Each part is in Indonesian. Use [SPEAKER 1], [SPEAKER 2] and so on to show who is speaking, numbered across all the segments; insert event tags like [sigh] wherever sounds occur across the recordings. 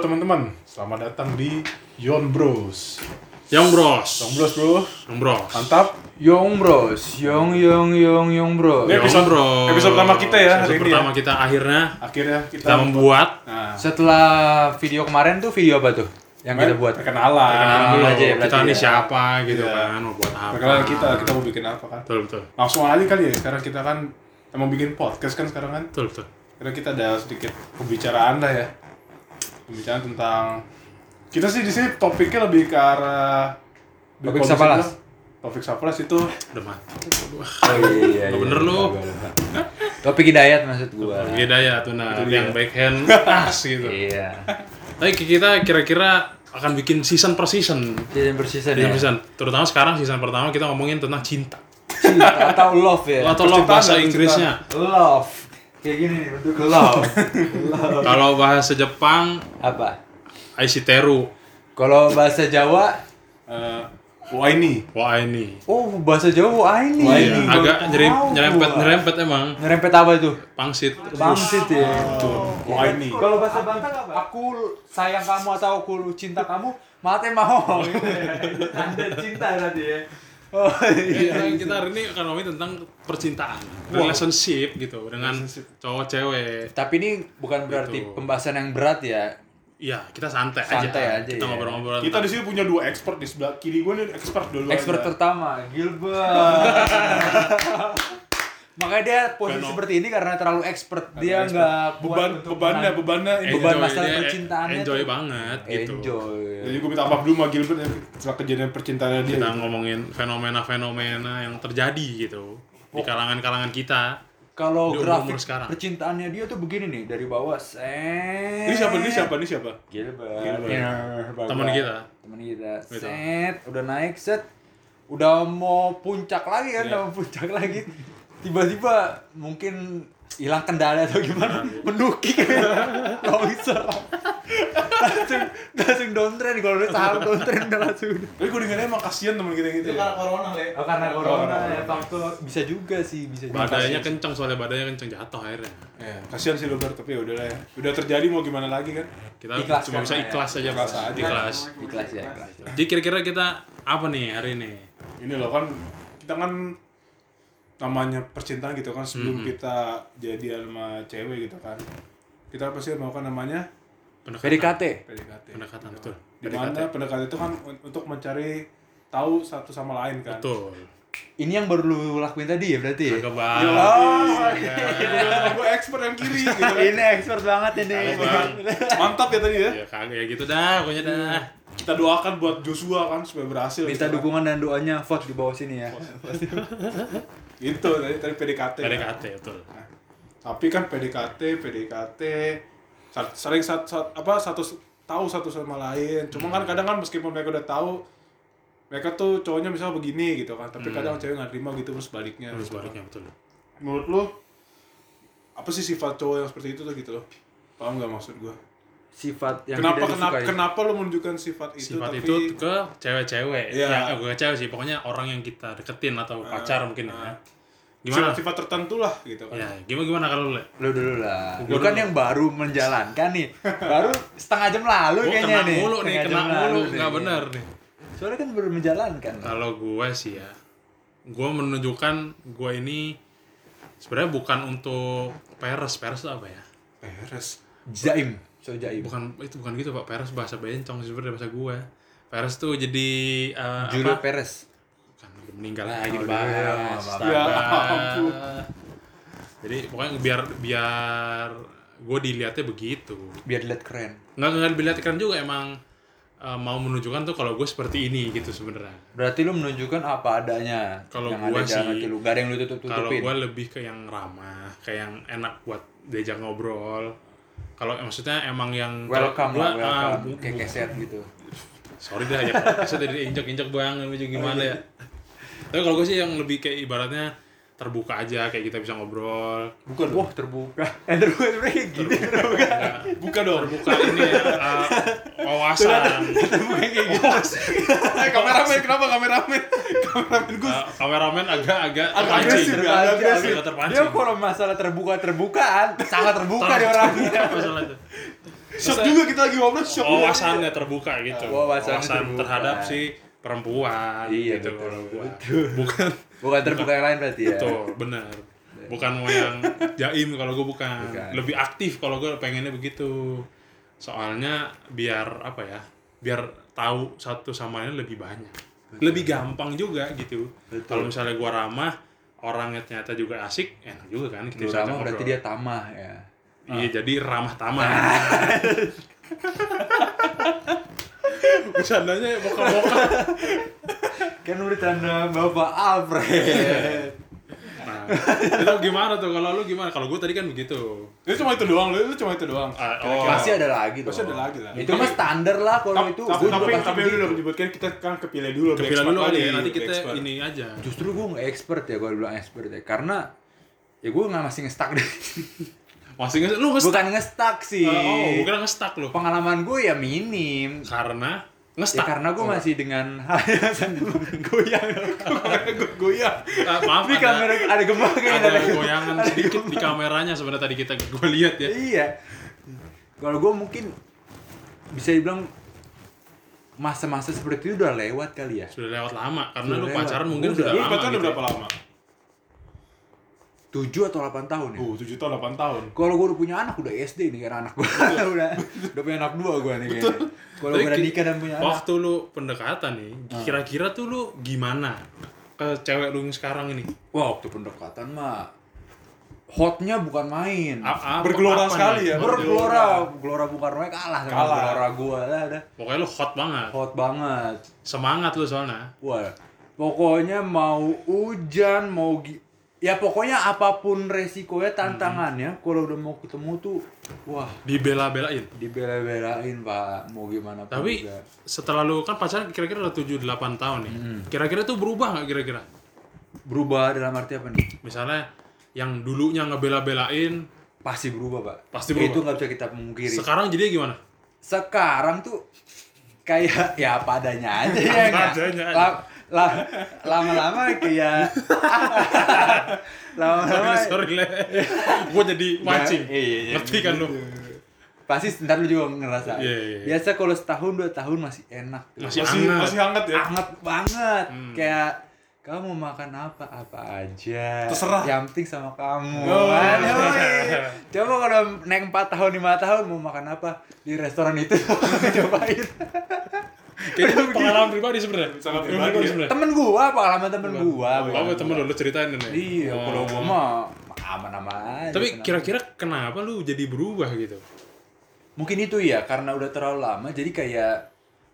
[SPEAKER 1] teman-teman. Selamat datang di Yon Bros.
[SPEAKER 2] Young Bros.
[SPEAKER 1] Yon Bros, Bro.
[SPEAKER 2] Young Bros.
[SPEAKER 1] Mantap.
[SPEAKER 3] Yong Bros, Yong Yong Yong Yong Bros.
[SPEAKER 1] Ini
[SPEAKER 2] Young
[SPEAKER 1] episode-
[SPEAKER 2] Bros.
[SPEAKER 1] episode pertama kita ya hari
[SPEAKER 2] Episode
[SPEAKER 1] ini
[SPEAKER 2] pertama kita akhirnya
[SPEAKER 1] Akhirnya kita,
[SPEAKER 2] kita membuat
[SPEAKER 1] Nah, kan?
[SPEAKER 3] Setelah video kemarin tuh video apa tuh yang kita buat?
[SPEAKER 1] perkenalan.
[SPEAKER 2] perkenalan
[SPEAKER 3] Ah,
[SPEAKER 2] dulu
[SPEAKER 3] aja ya,
[SPEAKER 2] kita
[SPEAKER 3] berarti
[SPEAKER 2] ini
[SPEAKER 3] ya.
[SPEAKER 2] siapa gitu
[SPEAKER 1] Iya.
[SPEAKER 2] kan mau buat apa.
[SPEAKER 1] Perkenalan kita, kita mau bikin apa kan?
[SPEAKER 2] Betul betul.
[SPEAKER 1] Langsung aja kali ya, sekarang kita kan emang bikin podcast kan sekarang kan?
[SPEAKER 2] Betul betul.
[SPEAKER 1] Karena kita ada sedikit pembicaraan lah ya. Pembicaraan tentang kita sih di sini topiknya lebih ke arah
[SPEAKER 3] Topik
[SPEAKER 1] kalau bisa
[SPEAKER 3] Sapalas.
[SPEAKER 1] bilang, Topik Sapalas itu
[SPEAKER 2] Udah mati.
[SPEAKER 3] Oh iya,
[SPEAKER 2] Nggak bener lu.
[SPEAKER 3] nggak bener. Topik hidayat maksud gua.
[SPEAKER 2] Hidayah tuh nah
[SPEAKER 1] Itu dia.
[SPEAKER 2] yang
[SPEAKER 1] [laughs]
[SPEAKER 2] backhand pas gitu.
[SPEAKER 3] Iya.
[SPEAKER 2] Tapi kita kira-kira akan bikin season per season.
[SPEAKER 3] Jadi ya? yang bersisa
[SPEAKER 2] Season
[SPEAKER 1] Iya.
[SPEAKER 3] nih.
[SPEAKER 2] per season. Terutama sekarang season pertama kita ngomongin tentang cinta.
[SPEAKER 3] Cinta atau love ya?
[SPEAKER 2] Atau lo
[SPEAKER 1] Percintaan
[SPEAKER 2] bahasa
[SPEAKER 1] dan cinta.
[SPEAKER 2] Inggrisnya.
[SPEAKER 3] Love. Kayak gini nih untuk
[SPEAKER 2] [laughs]
[SPEAKER 1] Oh,
[SPEAKER 3] love.
[SPEAKER 1] iya.
[SPEAKER 3] love.
[SPEAKER 2] Kalau bahasa Jepang
[SPEAKER 3] Apa?
[SPEAKER 2] Aishiteru.
[SPEAKER 3] Kalau bahasa Jawa,
[SPEAKER 1] eh wah ini
[SPEAKER 2] Wah ini.
[SPEAKER 3] oh bahasa Jawa wah ini.
[SPEAKER 1] Wah,
[SPEAKER 2] Iya,
[SPEAKER 1] ini.
[SPEAKER 2] agak nyerem-
[SPEAKER 3] Tahu
[SPEAKER 2] nyerempet
[SPEAKER 3] gua.
[SPEAKER 2] nyerempet emang
[SPEAKER 3] Ngerempet apa tuh?
[SPEAKER 2] pangsit.
[SPEAKER 3] Bangsit ya.
[SPEAKER 1] wah ini
[SPEAKER 3] Kalau bahasa Bangka apa? Aku sayang kamu atau aku cinta kamu, mate mau. iya, Anda cinta tadi ya. Oh
[SPEAKER 2] Iya,
[SPEAKER 3] iya.
[SPEAKER 2] kita hari ini akan ngomongin tentang percintaan, relationship gitu dengan cowok cewek.
[SPEAKER 3] Tapi ini bukan berarti
[SPEAKER 2] Gitu.
[SPEAKER 3] pembahasan yang berat ya.
[SPEAKER 2] Iya, kita santai,
[SPEAKER 3] Santai aja,
[SPEAKER 2] Kita
[SPEAKER 3] ya.
[SPEAKER 2] ngobrol-ngobrol.
[SPEAKER 1] kita di
[SPEAKER 2] tentang-
[SPEAKER 1] sini punya dua expert di sebelah kiri gue nih expert ya. dulu
[SPEAKER 3] Expert
[SPEAKER 1] ada.
[SPEAKER 3] pertama, [laughs] Gilbert. Makanya dia posisi
[SPEAKER 2] Beno.
[SPEAKER 3] seperti ini karena terlalu expert. Dia
[SPEAKER 1] expert.
[SPEAKER 3] nggak kuat
[SPEAKER 1] beban
[SPEAKER 3] untuk
[SPEAKER 1] bebannya
[SPEAKER 3] menang- Iya.
[SPEAKER 1] bebannya ini.
[SPEAKER 3] beban
[SPEAKER 2] Enjoy,
[SPEAKER 3] masalah
[SPEAKER 2] dia eh,
[SPEAKER 3] percintaannya
[SPEAKER 2] Enjoy
[SPEAKER 3] tuh.
[SPEAKER 2] banget gitu.
[SPEAKER 3] Enjoy.
[SPEAKER 1] jadi gue minta maaf dulu sama Gilbert ya, setelah kejadian percintaannya dia
[SPEAKER 2] Kita ngomongin fenomena-fenomena yang terjadi gitu di kalangan-kalangan kita.
[SPEAKER 3] Kalau
[SPEAKER 2] Di umur-umur
[SPEAKER 3] grafik
[SPEAKER 2] sekarang.
[SPEAKER 3] percintaannya dia tuh begini nih dari bawah. Set.
[SPEAKER 1] ini siapa ini siapa ini siapa
[SPEAKER 3] Gilbert.
[SPEAKER 1] Gilbert.
[SPEAKER 3] Gilbert.
[SPEAKER 2] Teman kita.
[SPEAKER 3] Teman kita.
[SPEAKER 2] Gitu.
[SPEAKER 3] Set, udah naik set. Udah mau puncak lagi kan,
[SPEAKER 2] Iya.
[SPEAKER 3] udah mau puncak lagi. Tiba-tiba mungkin hilang kendali atau gimana,
[SPEAKER 2] Iya.
[SPEAKER 3] mendukik longsor. langsung langsung downtrend kalau udah saham downtrend udah langsung.
[SPEAKER 1] tapi gue dengarnya emang kasihan teman kita yang gitu ya.
[SPEAKER 4] corona le
[SPEAKER 3] Oh, karena
[SPEAKER 1] corona,
[SPEAKER 3] ya faktor bisa juga sih, bisa juga.
[SPEAKER 2] Badainya kenceng soalnya badainya kenceng jatuh akhirnya.
[SPEAKER 1] ya kasihan sih Gilbert tapi ya udah lah ya udah terjadi mau gimana lagi kan
[SPEAKER 2] Kita
[SPEAKER 3] Ikhlas
[SPEAKER 2] cuma bisa
[SPEAKER 3] karena ya.
[SPEAKER 2] ikhlas aja,
[SPEAKER 1] Ikhlas aja.
[SPEAKER 2] Ikhlas.
[SPEAKER 3] Ikhlas ya, ikhlas. ya.
[SPEAKER 2] Jadi kira-kira kita apa nih hari ini?
[SPEAKER 1] ini loh kan kita kan namanya percintaan gitu kan sebelum kita jadian sama cewek gitu kan kita pasti melakukan namanya
[SPEAKER 3] PDKT.
[SPEAKER 1] PDKT
[SPEAKER 2] Pendekatan,
[SPEAKER 1] Gitu.
[SPEAKER 2] betul.
[SPEAKER 1] dimana pendekatan itu kan un- untuk mencari tahu satu sama lain kan
[SPEAKER 2] Betul.
[SPEAKER 3] Ini yang baru lu lakuin tadi ya berarti ya?
[SPEAKER 2] Agak banget.
[SPEAKER 1] Gila,
[SPEAKER 3] Oh,
[SPEAKER 1] gue gitu, "Ah, expert yang kiri gitu kan.
[SPEAKER 3] [laughs] ini expert banget ini.
[SPEAKER 2] Agak banget.
[SPEAKER 1] Mantap ya tadi ya.
[SPEAKER 2] ya kagak ya gitu dah pokoknya dah
[SPEAKER 1] Kita doakan buat Joshua kan supaya berhasil.
[SPEAKER 3] Minta
[SPEAKER 1] gitu kan.
[SPEAKER 3] dukungan dan doanya vote di bawah sini ya.
[SPEAKER 1] Gitu tadi tadi PDKT. kan.
[SPEAKER 2] PDKT ya, betul
[SPEAKER 1] Nah, tapi kan PDKT, PDKT sa- sering sat, sat- apa satu s- tahu satu sama lain. Cuma kan kadang kan meskipun mereka udah tahu mereka tuh cowoknya misalnya begini gitu kan, tapi kadang cewek nggak terima gitu terus baliknya.
[SPEAKER 2] harus
[SPEAKER 1] gitu kan.
[SPEAKER 2] baliknya betul
[SPEAKER 1] menurut lo apa sih sifat cowok yang seperti itu tuh gitu loh paham gak maksud gue
[SPEAKER 3] Sifat yang
[SPEAKER 1] kenapa
[SPEAKER 3] tidak
[SPEAKER 1] kenapa
[SPEAKER 3] disukai.
[SPEAKER 1] kenapa lo menunjukkan sifat itu
[SPEAKER 2] sifat
[SPEAKER 1] tapi
[SPEAKER 2] itu ke cewek-cewek
[SPEAKER 1] Iya.
[SPEAKER 2] ya eh, bukan ke cewek sih pokoknya orang yang kita deketin atau pacar mungkin ya gimana
[SPEAKER 1] sifat-sifat tertentu lah gitu kan
[SPEAKER 2] ya gimana gimana kalau lu Le?
[SPEAKER 3] Lu dulu lah. Lu
[SPEAKER 2] Gua
[SPEAKER 3] kan
[SPEAKER 2] dulu.
[SPEAKER 3] yang baru menjalankan nih. Baru setengah jam lalu
[SPEAKER 2] Gua
[SPEAKER 3] kayaknya
[SPEAKER 2] kena
[SPEAKER 3] nih.
[SPEAKER 2] mulu nih
[SPEAKER 3] Setengah
[SPEAKER 2] kena
[SPEAKER 3] jam
[SPEAKER 2] mulu
[SPEAKER 3] lalu
[SPEAKER 2] nggak
[SPEAKER 3] nih.
[SPEAKER 2] bener nih
[SPEAKER 3] Soalnya kan baru menjalankan.
[SPEAKER 2] kalau gue sih ya gue menunjukkan gue ini sebenarnya bukan untuk peres peres itu apa ya
[SPEAKER 1] peres
[SPEAKER 3] Jaim. So jaim.
[SPEAKER 2] bukan itu bukan gitu pak peres bahasa bencong sih sebenarnya bahasa gue peres tuh jadi eh,
[SPEAKER 3] Juru
[SPEAKER 2] apa
[SPEAKER 3] Perez.
[SPEAKER 2] kan udah meninggal lagi
[SPEAKER 3] Oh,
[SPEAKER 2] Bang.
[SPEAKER 3] udah, Bang.
[SPEAKER 2] Astaga.
[SPEAKER 1] Ya ampun.
[SPEAKER 2] jadi pokoknya biar biar gue dilihatnya begitu
[SPEAKER 3] Biar dilihat keren.
[SPEAKER 2] nggak nggak dilihat keren juga emang eh, mau menunjukkan tuh kalau gue seperti ini gitu sebenarnya
[SPEAKER 3] Berarti lu menunjukkan apa adanya.
[SPEAKER 2] Kalau
[SPEAKER 3] yang
[SPEAKER 2] gua
[SPEAKER 3] ada dalam
[SPEAKER 2] sih-
[SPEAKER 3] hati lu. Gak ada yang lu
[SPEAKER 2] kalau
[SPEAKER 3] tutup-tutupin.
[SPEAKER 2] gue lebih ke yang ramah kayak yang enak buat diajak ngobrol kalau eh, maksudnya emang yang kalau
[SPEAKER 3] Welcome
[SPEAKER 2] gua,
[SPEAKER 3] lah, welcome.
[SPEAKER 2] ah, bu-
[SPEAKER 3] Kayak keset gitu.
[SPEAKER 2] sorry dah ya saya dari injek injek bang namanya gimana ya tapi kalau gue sih yang lebih kayak ibaratnya terbuka aja kayak kita bisa ngobrol
[SPEAKER 1] bukan
[SPEAKER 3] Wah terbuka. Eh [laughs] terbuka sebenernya
[SPEAKER 1] [laughs]
[SPEAKER 3] gini.
[SPEAKER 2] Nggak-
[SPEAKER 1] bukan dong
[SPEAKER 2] terbuka ini ya, uh, wawasan gitu.
[SPEAKER 1] eh kameramen kenapa kameramen kameramen gue
[SPEAKER 2] Uh, kameramen agak-agak
[SPEAKER 1] agresif
[SPEAKER 2] terpancing
[SPEAKER 1] ya, agak
[SPEAKER 2] agresif.
[SPEAKER 3] Dia kalau masalah terbuka-terbukaan, sangat terbuka dia orangnya.
[SPEAKER 2] masalah itu
[SPEAKER 1] Shock juga kita lagi ngobrol, shock.
[SPEAKER 2] Oh,
[SPEAKER 1] juga.
[SPEAKER 2] wawasannya terbuka gitu
[SPEAKER 3] Wawasan
[SPEAKER 2] Wawasan
[SPEAKER 3] terbuka.
[SPEAKER 2] terhadap si perempuan
[SPEAKER 3] Iya,
[SPEAKER 2] gitu
[SPEAKER 3] betul,
[SPEAKER 2] kalau gua.
[SPEAKER 3] betul.
[SPEAKER 2] bukan
[SPEAKER 3] Bukan terbuka yang lain berarti ya.
[SPEAKER 2] betul benar bukan mau yang jaim kalau gue bukan.
[SPEAKER 3] Bukan.
[SPEAKER 2] lebih aktif kalau gue pengennya begitu soalnya biar apa ya biar tahu satu sama lain lebih banyak lebih gampang juga gitu
[SPEAKER 3] Betul.
[SPEAKER 2] kalau misalnya gua ramah orangnya ternyata juga asik enak juga kan
[SPEAKER 3] Lu
[SPEAKER 2] kita bisa
[SPEAKER 3] ramah berarti
[SPEAKER 2] ngobrol.
[SPEAKER 3] dia tamah ya.
[SPEAKER 2] Iya, jadi ramah
[SPEAKER 3] [laughs]
[SPEAKER 2] tamah. Bercandanya bokap-bokap.
[SPEAKER 3] Kan udah tanda Bapak Alfred.
[SPEAKER 1] Iya.
[SPEAKER 2] Nah, itu gimana tuh? Kalau lu gimana? Kalau gue tadi kan begitu.
[SPEAKER 1] Itu cuma itu doang, lu itu cuma itu doang.
[SPEAKER 2] Ah,
[SPEAKER 1] Kira-kira.
[SPEAKER 2] oh.
[SPEAKER 3] Masih ada lagi dong.
[SPEAKER 1] Masih ada lagi lah.
[SPEAKER 3] Itu mah standar lah kalau
[SPEAKER 1] Tapi,
[SPEAKER 3] itu.
[SPEAKER 1] tapi,
[SPEAKER 3] Gua juga
[SPEAKER 1] tapi,
[SPEAKER 3] pasti gitu.
[SPEAKER 1] tapi
[SPEAKER 3] begitu.
[SPEAKER 1] udah menyebutkan kita kan kepilih dulu. be
[SPEAKER 2] Kepila
[SPEAKER 1] expert
[SPEAKER 2] dulu aja
[SPEAKER 1] kali,
[SPEAKER 2] ya, nanti
[SPEAKER 1] be
[SPEAKER 2] kita
[SPEAKER 1] expert.
[SPEAKER 2] ini aja.
[SPEAKER 3] Justru gue nggak expert ya gue bilang expert ya karena ya gue nggak masih ngestak
[SPEAKER 1] [laughs]
[SPEAKER 3] deh.
[SPEAKER 2] Masih nge lu nge-stuck.
[SPEAKER 3] Bukan ngestak sih.
[SPEAKER 2] oh, bukan nge-stuck lu.
[SPEAKER 3] Pengalaman gue ya minim.
[SPEAKER 2] Karena
[SPEAKER 3] Ya
[SPEAKER 2] nge-stuck. Oh,
[SPEAKER 3] karena gue masih dengan [laughs] hal yang sangat goyang.
[SPEAKER 1] Gue [laughs] goyang.
[SPEAKER 2] Ah, maaf ada,
[SPEAKER 3] Ini kamera ada gempa kayaknya.
[SPEAKER 2] ada goyangan sedikit di kameranya sebenarnya tadi kita gue lihat ya.
[SPEAKER 3] Iya. Kalau gue mungkin bisa dibilang masa-masa seperti itu udah lewat kali ya.
[SPEAKER 2] Sudah lewat lama karena
[SPEAKER 3] Sudah
[SPEAKER 2] lu
[SPEAKER 3] lewat.
[SPEAKER 2] pacaran mungkin
[SPEAKER 3] Udah.
[SPEAKER 2] sudah
[SPEAKER 1] Lu
[SPEAKER 2] lama.
[SPEAKER 1] pacaran udah
[SPEAKER 2] gitu.
[SPEAKER 1] berapa lama?
[SPEAKER 3] 7 atau 8 tahun ya.
[SPEAKER 1] Uh, 7 tahun, 8 tahun.
[SPEAKER 3] Kalau gue udah punya anak udah SD nih karena anak gue [laughs] udah udah punya anak dua gue nih kayaknya. Kalau
[SPEAKER 2] Tapi
[SPEAKER 3] gue udah
[SPEAKER 2] ki-
[SPEAKER 3] nikah dan punya anak. Ah.
[SPEAKER 2] Waktu lu pendekatan nih, kira-kira tuh lu gimana ke cewek lu yang sekarang ini?
[SPEAKER 3] Wah, waktu pendekatan mah hotnya bukan main.
[SPEAKER 2] A- apa-
[SPEAKER 1] Bergelora
[SPEAKER 2] apa
[SPEAKER 1] sekali ya,
[SPEAKER 2] nih?
[SPEAKER 3] Bergelora, gelora bukan main kalah sama
[SPEAKER 1] Kalah.
[SPEAKER 3] gelora gue lah dah.
[SPEAKER 2] Pokoknya lu hot banget.
[SPEAKER 3] Hot banget.
[SPEAKER 2] Semangat lu soalnya.
[SPEAKER 3] Wah, pokoknya mau hujan, mau gi- ya pokoknya apapun resikonya tantangannya kalau udah mau ketemu tuh wah
[SPEAKER 2] Dibela-belain.
[SPEAKER 3] dibela-belain pak mau gimana pun
[SPEAKER 2] Tapi
[SPEAKER 3] juga.
[SPEAKER 2] setelah lu kan pacaran kira-kira udah 7-8 tahun nih.
[SPEAKER 3] Hmm.
[SPEAKER 2] Kira-kira tuh berubah nggak kira-kira?
[SPEAKER 3] berubah dalam arti apa nih
[SPEAKER 2] Misalnya yang dulunya ngebela-belain,
[SPEAKER 3] pasti berubah pak
[SPEAKER 2] Pasti berubah.
[SPEAKER 3] itu nggak bisa kita pungkiri
[SPEAKER 2] sekarang jadi
[SPEAKER 3] [laughs]
[SPEAKER 2] gimana?
[SPEAKER 3] sekarang tuh kayak ya padanya
[SPEAKER 2] [laughs]
[SPEAKER 3] aja ya
[SPEAKER 2] Apa
[SPEAKER 3] nggak?
[SPEAKER 2] adanya aja.
[SPEAKER 3] La- la- lama-lama
[SPEAKER 2] [laughs]
[SPEAKER 3] kayak [laughs] lama-lama
[SPEAKER 2] Sorry, sorry le. [laughs] Gue jadi mancing.
[SPEAKER 3] Iya, iya, iya.
[SPEAKER 2] Ngerti kan lu?
[SPEAKER 3] pasti ntar lu juga
[SPEAKER 2] Iya,
[SPEAKER 3] ngerasa
[SPEAKER 2] iya, iya.
[SPEAKER 3] biasa kalau setahun dua tahun masih enak
[SPEAKER 1] Masih
[SPEAKER 2] Masih hangat. Ah,
[SPEAKER 1] masih hangat ya.
[SPEAKER 3] hangat banget
[SPEAKER 2] Hmm.
[SPEAKER 3] kayak kamu mau makan apa apa aja
[SPEAKER 1] Terserah.
[SPEAKER 3] yang penting sama kamu
[SPEAKER 1] Oh.
[SPEAKER 3] Aduh, woi. [laughs] coba kalau naik 4 tahun 5 tahun mau makan apa di restoran itu [laughs]
[SPEAKER 2] Iya,
[SPEAKER 3] cobain
[SPEAKER 2] Kayaknya itu pengalaman pribadi
[SPEAKER 3] [laughs]
[SPEAKER 2] sebenarnya.
[SPEAKER 1] Sangat
[SPEAKER 2] Pengalaman
[SPEAKER 1] pribadi ya.
[SPEAKER 2] sebenarnya.
[SPEAKER 3] temen gua pengalaman temen gua bukan
[SPEAKER 2] Oh,
[SPEAKER 3] gua.
[SPEAKER 2] temen lu, lu ceritain nih.
[SPEAKER 3] iya
[SPEAKER 2] Oh.
[SPEAKER 3] kalau gua mah aman-aman aja
[SPEAKER 2] Tapi
[SPEAKER 3] tenang.
[SPEAKER 2] kira-kira kenapa lu jadi berubah gitu?
[SPEAKER 3] mungkin itu ya karena udah terlalu lama jadi kayak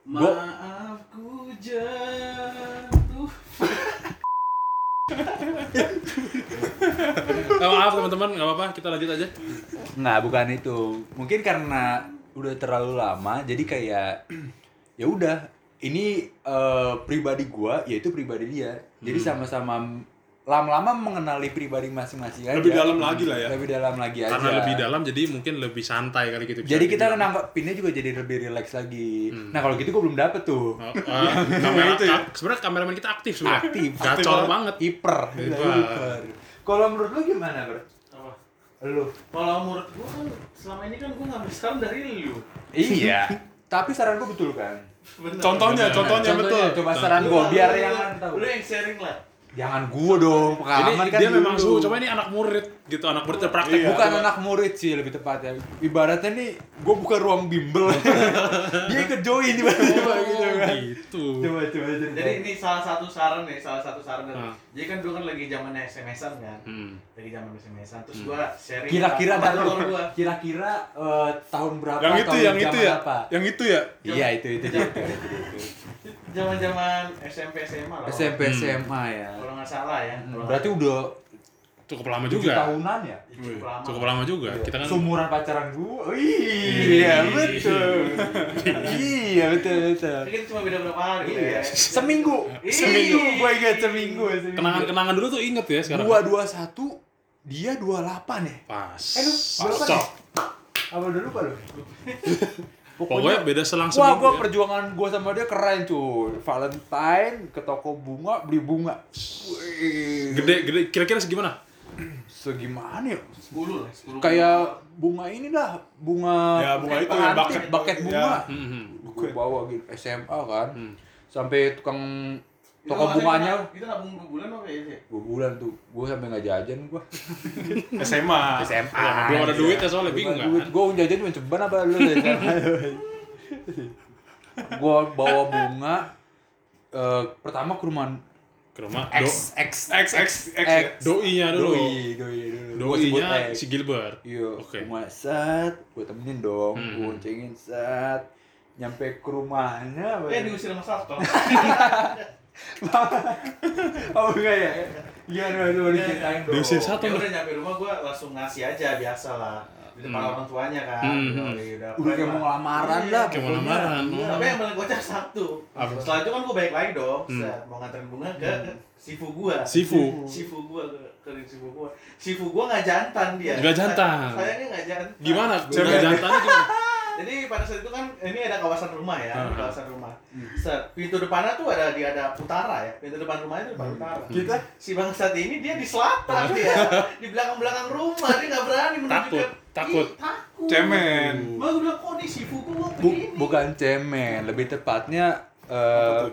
[SPEAKER 3] gua
[SPEAKER 4] Maafku jatuh.
[SPEAKER 2] Eh, maaf teman-teman, nggak apa-apa, kita lanjut aja.
[SPEAKER 3] Nggak, bukan itu. Mungkin karena udah terlalu lama, jadi kayak [clears throat] ya udah. Ini eh, pribadi gua, yaitu pribadi dia. Jadi
[SPEAKER 1] Hmm.
[SPEAKER 3] sama-sama lama-lama mengenali pribadi masing-masing aja.
[SPEAKER 1] Lebih dalam lagi lah ya.
[SPEAKER 3] Lebih dalam lagi aja.
[SPEAKER 2] Karena lebih dalam jadi mungkin lebih santai kali gitu. bisa
[SPEAKER 3] Jadi
[SPEAKER 1] ya.
[SPEAKER 3] kita
[SPEAKER 2] dibilang.
[SPEAKER 3] nangkep pinnya juga jadi lebih rileks lagi.
[SPEAKER 1] Hmm.
[SPEAKER 3] Nah kalau gitu gua belum dapet tuh.
[SPEAKER 2] Oh, eh, kamera, ka- sebenarnya kameramen kita aktif sebenarnya.
[SPEAKER 3] ya? Aktif.
[SPEAKER 2] Gacor
[SPEAKER 1] Aktif
[SPEAKER 2] banget.
[SPEAKER 3] Hiper.
[SPEAKER 2] Hiper.
[SPEAKER 3] Hiper. Kalau menurut lu gimana, Bro?
[SPEAKER 4] Apa?
[SPEAKER 3] Lu?
[SPEAKER 4] Kalau menurut gua kan selama ini kan gua ngambil saran dari lu.
[SPEAKER 3] Iya. [laughs] Tapi saran gua betul kan?
[SPEAKER 4] Bener.
[SPEAKER 1] Contohnya,
[SPEAKER 2] Benar.
[SPEAKER 1] contohnya betul.
[SPEAKER 3] Coba saran
[SPEAKER 4] Lu-
[SPEAKER 3] gua Oh, biar
[SPEAKER 4] lu-
[SPEAKER 3] yang
[SPEAKER 4] lu-
[SPEAKER 3] tahu.
[SPEAKER 4] Lu yang sharing lah.
[SPEAKER 3] Jangan gua dong,
[SPEAKER 2] Ini
[SPEAKER 3] pengalaman kan
[SPEAKER 2] dia
[SPEAKER 3] dulu.
[SPEAKER 2] memang suhu, coba ini anak murid gitu, anak murid terpraktek.
[SPEAKER 1] Iya.
[SPEAKER 3] bukan
[SPEAKER 1] coba.
[SPEAKER 3] anak murid sih lebih tepatnya. Ibaratnya nih gua buka ruang bimbel. [laughs] dia ikut join tiba-tiba gitu
[SPEAKER 2] Oh,
[SPEAKER 3] kan.
[SPEAKER 2] gitu.
[SPEAKER 3] Coba coba cerita.
[SPEAKER 4] Jadi ini salah satu saran nih, salah satu saran. dari-
[SPEAKER 2] Ah.
[SPEAKER 4] Jadi kan dulu kan lagi zamannya SMS-an kan.
[SPEAKER 2] Hmm.
[SPEAKER 4] Lagi zaman SMS-an terus gua sharing
[SPEAKER 3] kira-kira
[SPEAKER 4] sama
[SPEAKER 3] dan
[SPEAKER 4] teman gua.
[SPEAKER 3] kira-kira eh, tahun berapa
[SPEAKER 1] Yang itu,
[SPEAKER 3] tahun
[SPEAKER 1] yang itu
[SPEAKER 3] zaman
[SPEAKER 1] ya.
[SPEAKER 3] apa?
[SPEAKER 1] Yang itu ya.
[SPEAKER 3] Iya, itu itu dia, itu. itu, itu.
[SPEAKER 4] Zaman-zaman SMP SMA lah.
[SPEAKER 3] SMP
[SPEAKER 2] Hmm.
[SPEAKER 3] SMA ya.
[SPEAKER 4] Kalau nggak salah ya. Kalau
[SPEAKER 3] Berarti udah
[SPEAKER 2] Cukup lama
[SPEAKER 3] 7
[SPEAKER 2] juga.
[SPEAKER 3] tahunan ya?
[SPEAKER 4] nggak- cukup lama.
[SPEAKER 2] Cukup lama juga.
[SPEAKER 3] Iya.
[SPEAKER 2] Kita kan
[SPEAKER 3] Seumuran pacaran gua. Iya, betul. Iya, betul betul.
[SPEAKER 4] Tapi Kan cuma beda berapa hari
[SPEAKER 3] Iya.
[SPEAKER 4] ya.
[SPEAKER 3] Seminggu.
[SPEAKER 4] Ih.
[SPEAKER 3] Seminggu. Gue ingat seminggu. seminggu.
[SPEAKER 2] kenangan-kenangan dulu tuh inget ya sekarang.
[SPEAKER 3] Gua 21, dia 28 ya.
[SPEAKER 2] Pas.
[SPEAKER 3] Eh lu berapa
[SPEAKER 2] Cocok.
[SPEAKER 3] nih? Apa udah lupa lu?
[SPEAKER 2] Pokoknya beda selang
[SPEAKER 3] Wah,
[SPEAKER 2] sebelum
[SPEAKER 3] gua
[SPEAKER 2] ya.
[SPEAKER 3] perjuangan gua sama dia keren cuy. Valentine ke toko bunga beli bunga. Wih.
[SPEAKER 2] Gede, gede. Kira-kira segimana?
[SPEAKER 3] segimana ya?
[SPEAKER 4] 10 lah, 10.
[SPEAKER 3] Kayak bunga ini dah, bunga
[SPEAKER 1] Ya, bunga itu,
[SPEAKER 3] yang
[SPEAKER 1] bucket-
[SPEAKER 3] bucket bunga.
[SPEAKER 1] ya.
[SPEAKER 3] Gue bawa gitu SMA kan.
[SPEAKER 2] Hmm.
[SPEAKER 3] Sampai tukang
[SPEAKER 4] Itu
[SPEAKER 3] toko
[SPEAKER 4] nabung-
[SPEAKER 3] bunganya
[SPEAKER 4] Itu nabung dua bulan apa ya? sih?
[SPEAKER 3] dua bulan tuh gue sampai nggak jajan
[SPEAKER 2] [laughs]
[SPEAKER 3] gue
[SPEAKER 1] SMA.
[SPEAKER 3] SMA
[SPEAKER 2] Belum ada duit ya soalnya bingung kan.
[SPEAKER 3] iya. duit gue jajan cuma ceban apa lu [laughs] gue bawa bunga eh, pertama ke rumah
[SPEAKER 2] Ke rumah do,
[SPEAKER 3] X X
[SPEAKER 1] X X X. ya?
[SPEAKER 3] X.
[SPEAKER 2] doi-nya dulu.
[SPEAKER 3] doi doi dulu Gua sebut
[SPEAKER 2] Doi-nya
[SPEAKER 3] X.
[SPEAKER 2] si Gilbert.
[SPEAKER 3] Iya,
[SPEAKER 2] Oke.
[SPEAKER 3] rumah set, gue temenin dong,
[SPEAKER 2] Hmm.
[SPEAKER 3] gue cengin set, nyampe ke rumahnya, apa
[SPEAKER 4] Eh,
[SPEAKER 3] ya?
[SPEAKER 4] diusir sama satpam.
[SPEAKER 3] [laughs] oh enggak ya,
[SPEAKER 2] Iya,
[SPEAKER 3] gimana lu baru ceritain dong?
[SPEAKER 2] Diusir satpam.
[SPEAKER 4] Iya. Ya udah nyampe rumah gua langsung ngasih aja biasa lah. Di depan orang tuanya kan.
[SPEAKER 2] Hmm.
[SPEAKER 4] Udah, udah,
[SPEAKER 3] Udah kayak
[SPEAKER 4] udah.
[SPEAKER 3] mau lamaran
[SPEAKER 4] Iya.
[SPEAKER 3] lah,
[SPEAKER 2] Kayak mau
[SPEAKER 3] pokoknya.
[SPEAKER 2] lamaran.
[SPEAKER 3] Iya.
[SPEAKER 4] Tapi yang paling kocak satu.
[SPEAKER 2] Apa?
[SPEAKER 4] Setelah itu kan gue balik lagi dong,
[SPEAKER 2] Hmm.
[SPEAKER 4] set, mau nganterin bunga ke
[SPEAKER 3] Hmm.
[SPEAKER 4] sifu gua.
[SPEAKER 2] Sifu.
[SPEAKER 4] Sifu gua ke, ke sifu gua. Sifu gua nggak jantan dia.
[SPEAKER 2] Nggak jantan.
[SPEAKER 4] Say- Sayangnya nggak jantan.
[SPEAKER 2] Gimana?
[SPEAKER 1] Cewek.
[SPEAKER 2] Bunga jantannya gimana?
[SPEAKER 4] Jadi pada saat itu kan ini ada kawasan rumah ya,
[SPEAKER 2] Hmm.
[SPEAKER 4] kawasan rumah. Set, pintu depannya tuh ada di ada utara ya. Pintu depan rumahnya itu depan utara.
[SPEAKER 3] Kita?
[SPEAKER 4] Si bangsat ini dia di selatan dia. Di belakang-belakang rumah dia nggak berani menuju
[SPEAKER 2] Takut,
[SPEAKER 4] ke-
[SPEAKER 2] takut.
[SPEAKER 4] Ih, takut.
[SPEAKER 1] Cemen.
[SPEAKER 4] Gua bilang kok di sifu gua
[SPEAKER 3] Bu-
[SPEAKER 4] begini.
[SPEAKER 3] bukan cemen, lebih tepatnya eh,
[SPEAKER 1] tuh?